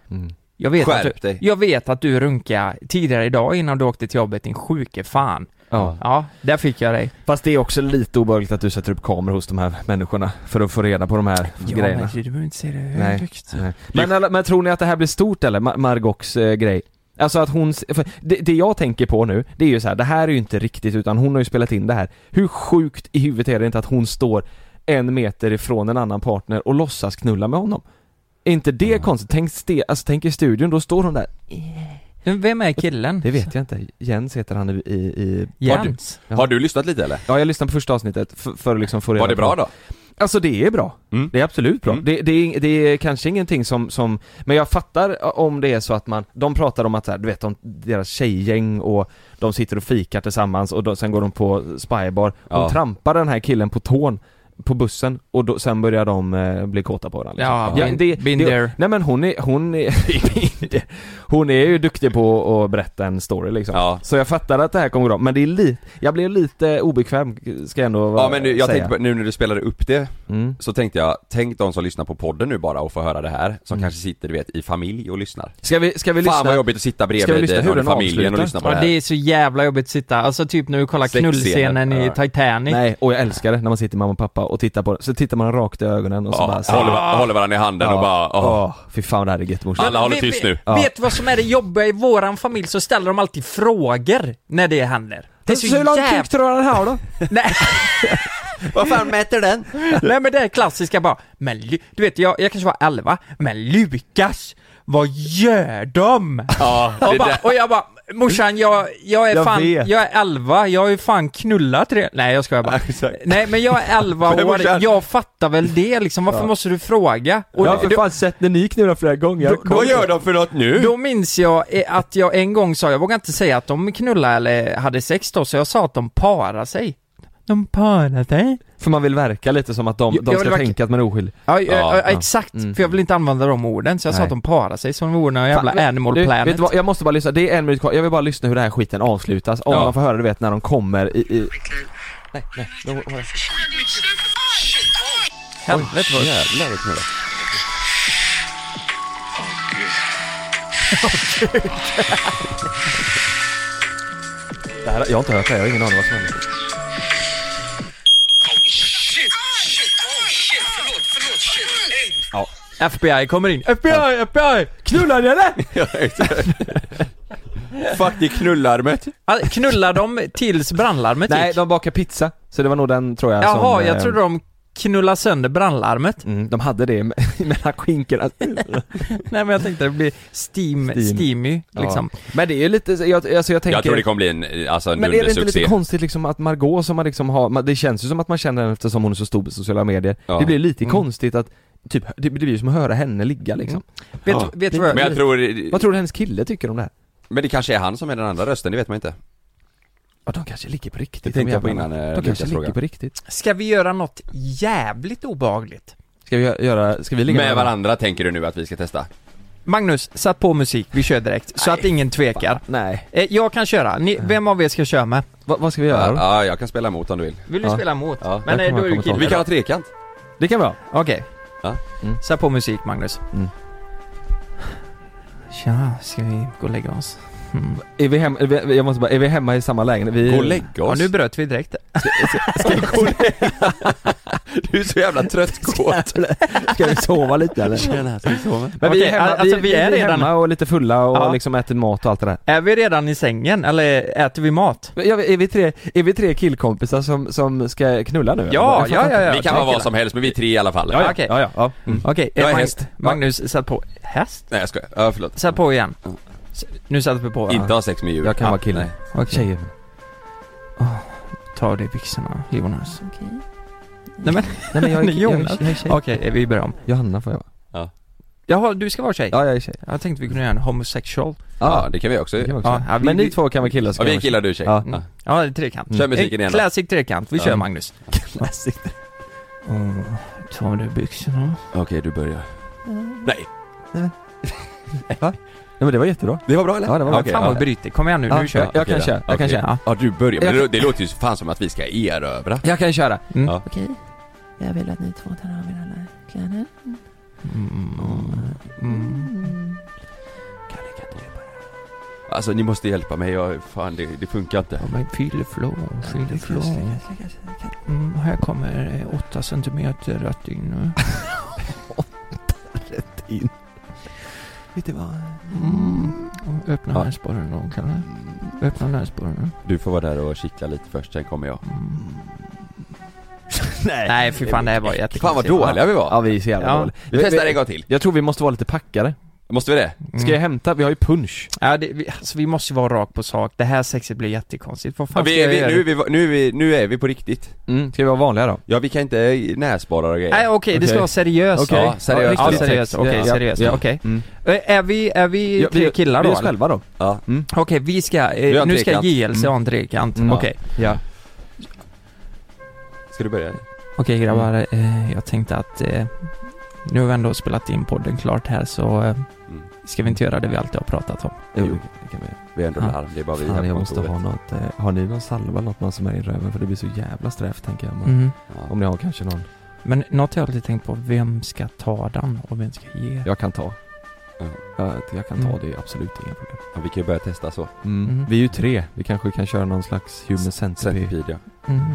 Jag vet,
Skärp
att du,
dig.
jag vet att du runkade tidigare idag innan du åkte till jobbet, din sjuke fan.
Ja.
Ja, där fick jag dig.
Fast det är också lite obehagligt att du sätter upp kameror hos de här människorna för att få reda på de här
Ja,
grejerna.
men du behöver inte säga det
Nej,
högt.
nej. Men, alla- men tror ni att det här blir stort eller? Mar Margox eh, grej? Alltså att hon, för det, det jag tänker på nu, det är ju så här, det här är ju inte riktigt utan hon har ju spelat in det här. Hur sjukt i huvudet är det inte att hon står en meter ifrån en annan partner och låtsas knulla med honom? Är inte det konstigt? Tänk, ste, alltså, tänk i studion, då står hon där
Vem är killen?
Det vet jag inte, Jens heter han i... i, i
Jens.
Har du,
Har du lyssnat lite eller?
Ja, jag lyssnade på första avsnittet för, för att liksom få reda
Var det bra
på-
då?
Alltså det är bra.
Mm.
Det är absolut bra. Det, det, är, det är kanske ingenting som, som, men jag fattar om det är så att man, de pratar om att så här, du vet de, deras tjejgäng och de sitter och fikar tillsammans och då, sen går de på spybar. Hon
Ja.
trampar den här killen på tån på bussen och då, sen börjar de eh, bli kåta på varandra.
Ja, been- been
det,
there.
Nej men hon är, hon är, hon är ju duktig på att berätta en story liksom. Så jag fattar att det här kommer bra, men det är lite, jag blev lite obekväm ska jag ändå
Ja men nu, jag
säga.
tänkte, på- nu när du spelade upp det
Mm.
Så tänkte jag, tänk de som lyssnar på podden nu bara och får höra det här Som kanske sitter du vet i familj och lyssnar
Ska vi, ska vi
Fan
lyssna?
vad jobbigt att sitta bredvid
Ska vi lyssna
den-
hur den
familjen och
avslutar?
lyssna på
Ja,
det här
det är så jävla jobbigt att sitta, alltså typ när du kollar
Sexscener.
knullscenen i
Ja.
Titanic
Nej, och jag älskar det när man sitter med mamma och pappa och tittar på det. Så tittar man rakt i ögonen och så
Ja,
bara
håller va- håller varandra i handen och bara, åh.
åh, fy fan det här är gött morsan.
Ja, vi- vi- Vet du vad som är det jobbiga i våran familj så ställer de alltid frågor när det händer. Det är så,
Så hur lång tid tror du den här då?
Vad fan mäter den? Nej men det är klassiska bara, men Lu- du vet jag, jag kanske var 11, men Lukas, vad gör de?
Ja,
och,
det
bara,
där-
och jag bara, morsan jag, jag är
Jag
fan,
vet.
jag är 11, jag har ju fan knullat redan. Nej jag skojar bara. Nej men jag är 11
Men
år,
morsan-
jag fattar väl det liksom, varför
Ja.
måste du fråga?
jag har för fan sett när ni knullar flera gånger. Kom.
de för något nu?
Då minns jag eh, att jag en gång sa, jag vågar inte säga att de knullade eller hade sex då, så jag sa att de parade sig. De parar sig?
För man vill verka lite som att de,
Jag-
de
jag
ska
vill verkligen-
tänka att man är oskyldig.
Ja, ja, ja, exakt, för jag vill inte använda de orden, så jag sa
Nej.
att de parar sig som vore någon jävla
Fan,
animal
du,
planet.
Vet du vad, jag måste bara lyssna, det är en minut kvar. Jag vill bara lyssna hur den här skiten avslutas. Om
Ja.
man får höra du vet när de kommer i... i... Nej, nej.
Helvete vad...
Jävlar vad knullar.
Det här, jag har inte hört det här, jag har ingen aning vad som händer.
Ja. FBI kommer in. FBI, FBI!
Knullar ni eller?
Fuck det knullarmet.
Alltså, Knullar de tills brandlarmet
Nej,
gick?
de bakar pizza. Så det var nog den tror jag
Jaha,
som,
jag
eh,
trodde de knullade sönder brandlarmet.
Mm, de hade det me- mellan skinkorna.
Nej men jag tänkte det blir steam,
Steam.
steamy liksom.
Ja. Men det är ju lite, jag, alltså jag tänker...
Jag tror det kommer bli en, alltså en
men är det inte
dundersuccé
lite konstigt liksom att Margot som man liksom har, man- det känns ju som att man känner henne eftersom hon är så stor på sociala medier.
Ja.
Det blir lite
Mm.
konstigt att, typ, det, det blir ju som att höra henne ligga liksom.
Vet du- vet du vad-
Mm. Men jag tror,
Vad, tror du hennes kille tycker om det här?
men det kanske är han som är den andra rösten, det vet man inte
Ja, de kanske ligger på riktigt.
Det tänkte
de
jag på
jävlarna.
innan, eh,
De kanske
Lukas
ligger
fråga.
på riktigt.
Ska vi göra något jävligt obehagligt?
Ska vi gö- göra, ska vi ligga
Med
varandra?
varandra tänker du nu att vi ska testa?
Magnus, sätt på musik, vi kör direkt. så att ingen tvekar.
nej.
Eh, jag kan köra, Ni, vem av er ska köra med?
vad ska vi göra då?
Ja, jag kan spela emot om du vill
Vill du
ja.
spela emot?
Ja.
Men eh, då är du kille.
Vi kan ha trekant
Det kan vi ha.
Okej. Mm.
Ja.
Sätt på musik Magnus.
Mm.
Tja, ska vi gå och lägga oss?
Är vi hemma, är vi, jag måste bara, är vi hemma i samma lägenhet? Vi...
Gå och lägga oss.
Ja, nu bröt vi direkt.
Du är så jävla tröttkåt
Ska vi sova lite eller?
Tjena, ska vi sova?
Men vi
Okej,
är hemma,
alltså,
vi,
vi är redan-
hemma och lite fulla och
Ja.
liksom äter mat och allt det där.
Är vi redan i sängen eller äter vi mat?
Ja, är, vi tre, är vi tre killkompisar som, som ska knulla nu?
Ja,
eller?
ja, ja, ja.
Vi kan vara vad som helst men vi är tre i alla fall
Ja, ja,
Okej.
ja, ja, ja. Mm.
Okej,
Jag är
eh, Mag-
häst.
Magnus, sätt på. Häst?
Nej jag skojar, ja förlåt Mm.
Sätt på igen. S- Nu sätter vi på.
Inte ha sex med djur
Jag kan
Ja,
vara kille.
nej.
Okej.
Tjejer.
Ta av dig byxorna, Jonas. Okej. Nej men,
Nej men jag är, jag är,
Jonas.
jag är tjej.
Okej, eh, vi börjar om.
Johanna får jag vara.
Jaha, du ska vara tjej?
Ja, jag är tjej. Ah.
Jag tänkte vi kunde göra en homosexual.
Ja, det kan vi också
Det kan
göra
vi också
Ja,
göra.
ja, vi-
Men ni
vi-
två kan vara killar så
Ja,
kan
vi är
jag vara
killar, du är tjej.
Ja.
Ja.
Ja, det är trekant.
Kör musiken
En
igen då.
Classic trekant, vi kör
Ja.
Magnus.
Classic.
Mm, ta av dig byxorna.
Okej, du börjar Nej,
Nej men det var jättebra.
det var bra eller?
Ja, det var bra.
Okej,
Fan vad
ja.
bryter, kom igen nu,
Ja,
nu kör
ja, jag kan
Okej,
köra, jag kan
okej.
köra.
Ja du börjar,
Jag
men det,
kan-
det låter ju fan som att vi ska erövra
Jag kan köra.
Mm.
Ja.
Okej, jag vill att ni två tar av er alla kläder.
Mm.
Alltså ni måste hjälpa mig, jag, fan det, det funkar inte
Ja men fylleflå, fylleflå. Mm, här kommer eh, åtta centimeter rätt in nu.
Vet du vad?
Mm. Öppna
Ja.
näsborren då, Kalle. Öppna näsborren.
Du får vara där och kittla lite först, sen kommer jag.
Nej, Nej fy fan det här var jättekonstigt.
Fan vad dåliga vi var!
Ja vi är så jävla
Ja.
dåliga.
Vi testar en gång till.
Jag tror vi måste vara lite packade.
Måste vi det?
Ska
Mm.
jag hämta? Vi har ju punch.
Ja, det, vi, alltså, vi måste ju vara rakt på sak. Det här sexet blir jättekonstigt. Vad
Ja,
fan ska
vi,
jag
vi,
göra?
nu, är vi, nu, är vi, nu är vi på riktigt.
Mm, ska vi vara vanliga då?
Ja vi kan inte eh, näsborrar och grejer.
Nej okej, det ska vara seriöst.
Okej. Ja, seriöst.
Ja, seriöst. Okej, seriöst. Okej. Eh, Är vi, är vi
Ja, vi-
tre killar
vi
då?
är oss
eller?
själva då. Ja.
Mm.
Okej, vi ska, eh,
Vi har en
nu ska
trekant.
JLC ha en
Mm.
trekant.
Mm.
Okej.
Ja.
Ska du börja?
Okej grabbar, eh, jag tänkte att eh, nu har vi ändå spelat in podden klart här så eh, ska vi inte göra det vi alltid har pratat om?
Jo, det kan vi göra.
Vi är ändå larm, det är bara vi här
Fan,
på
jag måste ha
kontoret.
något, eh, har ni någon salva eller något man som är i röven? För det blir så jävla strävt tänker jag. om man-
Mm.
Om ni har kanske någon.
Men något jag alltid tänkt på, vem ska ta den och vem ska ge?
Jag kan ta. Jag, jag kan ta
Mm.
det, är absolut inga problem.
Ja, vi kan ju börja testa så.
Mm.
Mm.
Vi är ju tre, vi kanske kan köra någon slags human centipede.
centipede
ja. Mm.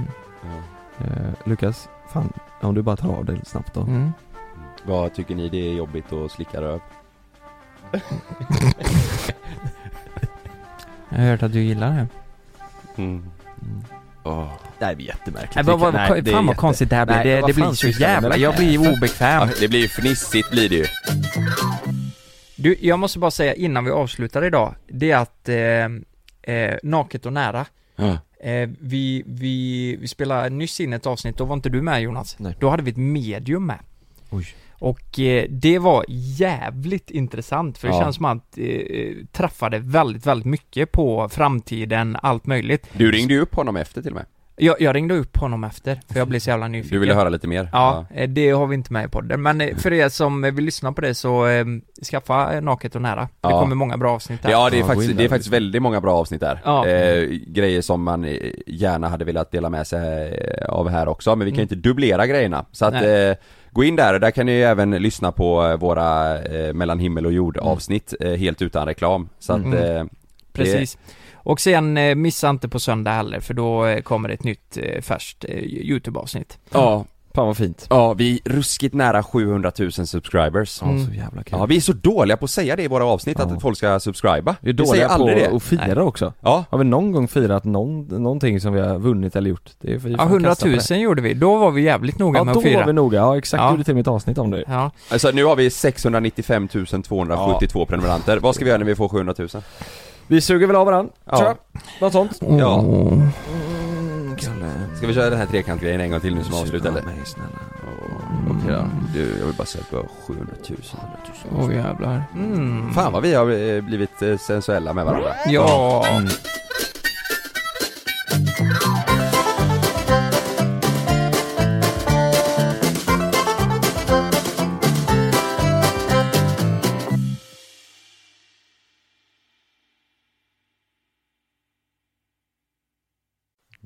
Eh, Lukas, fan om du bara tar av dig snabbt då.
Mm.
Vad tycker ni det är jobbigt att slicka röv?
Jag har hört att du gillar det.
Mm. Åh.
Det här blir jättemärkligt.
Nej, vad- vad- fan vad konstigt det här blir. Det- det blir så jävla- jag blir ju obekväm.
Ja, det blir ju fnissigt blir det ju.
Du, jag måste bara säga innan vi avslutar idag, det är att eh, eh, Naket och nära,
Ja.
eh, vi, vi, vi spelade nyss in ett avsnitt, då var inte du med Jonas. Då hade vi ett medium med.
Oj.
Och eh, det var jävligt intressant, för det
Ja.
känns som att eh, träffade väldigt, väldigt mycket på framtiden, allt möjligt.
Du ringde ju upp honom efter till och med.
Jag, jag ringde upp honom efter, för jag blev så jävla nyfiken.
Du ville höra lite mer?
Ja, eh, det har vi inte med i podden. Men eh, för er som eh, vill lyssna på det så eh, skaffa eh, Naket och nära. Det
Ja.
kommer många bra avsnitt där.
Ja det är, faktiskt, det är faktiskt väldigt många bra avsnitt där.
Ja.
Eh, grejer som man eh, gärna hade velat dela med sig eh, av här också, men vi kan ju inte dubblera grejerna. Så att
Mm. Nej.
eh, gå in där, där kan ni ju även lyssna på eh, våra eh, mellan himmel och jord avsnitt eh, helt utan reklam. Så att,
Mm.
eh,
Precis. Och sen eh, missa inte på söndag heller, för då eh, kommer det ett nytt eh, färskt eh, YouTube-avsnitt.
Ja.
Fan vad fint.
Ja, vi är ruskigt nära 700 000 subscribers.
Ja, så Mm. jävla
Ja, vi är så dåliga på att säga det i våra avsnitt, att folk ska subscriba.
Vi är
säger
dåliga på
aldrig det.
att fira också.
Ja.
Har vi någon gång firat någon, någonting som vi har vunnit eller gjort? Det är vi
Ja,
fan
100
kassa på
000
det.
gjorde vi. Då var vi jävligt noga
Ja,
med
då
att fira.
var vi noga. Ja, exakt.
Ja.
Gjorde till mitt avsnitt om det.
Ja.
Alltså nu har vi 695 272 prenumeranter. Vad ska vi göra när vi får 700 000?
Vi suger väl av varandra,
Ja.
tror jag. Något sånt.
Ja. Ska vi köra den här trekantgrejen en gång till nu som avslut eller? Mig, Okej då. Du, jag vill bara säga att vi har 700 000.
Åh jävlar. Mm.
Fan vad vi har eh, blivit eh, sensuella med varandra.
Ja.
Mm.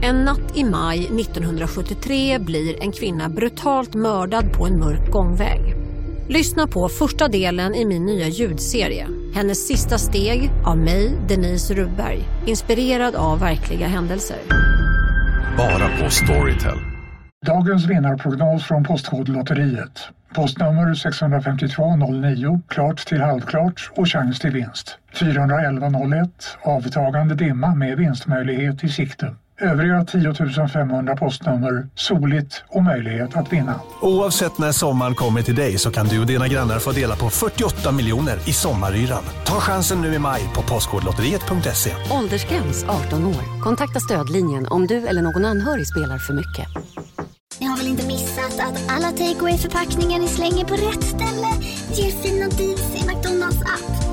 En natt i maj 1973 blir en kvinna brutalt mördad på en mörk gångväg. Lyssna på första delen i min nya ljudserie. Hennes sista steg av mig, Denise Rubberg. Inspirerad av verkliga händelser.
Bara på Storytel.
Dagens vinnarprognos från Postkodlotteriet. Postnummer 65209, klart till halvklart och chans till vinst. 41101, avtagande dimma med vinstmöjlighet i sikte. Övriga 10 500 postnummer, soligt och möjlighet att vinna.
Oavsett när sommaren kommer till dig så kan du och dina grannar få dela på 48 miljoner i sommaryran. Ta chansen nu i maj på Postkodlotteriet.se.
Åldersgräns 18 år. Kontakta stödlinjen om du eller någon anhörig spelar för mycket.
Ni har väl inte missat att alla takeaway förpackningar ni slänger på rätt ställe ger fina deals i McDonalds app.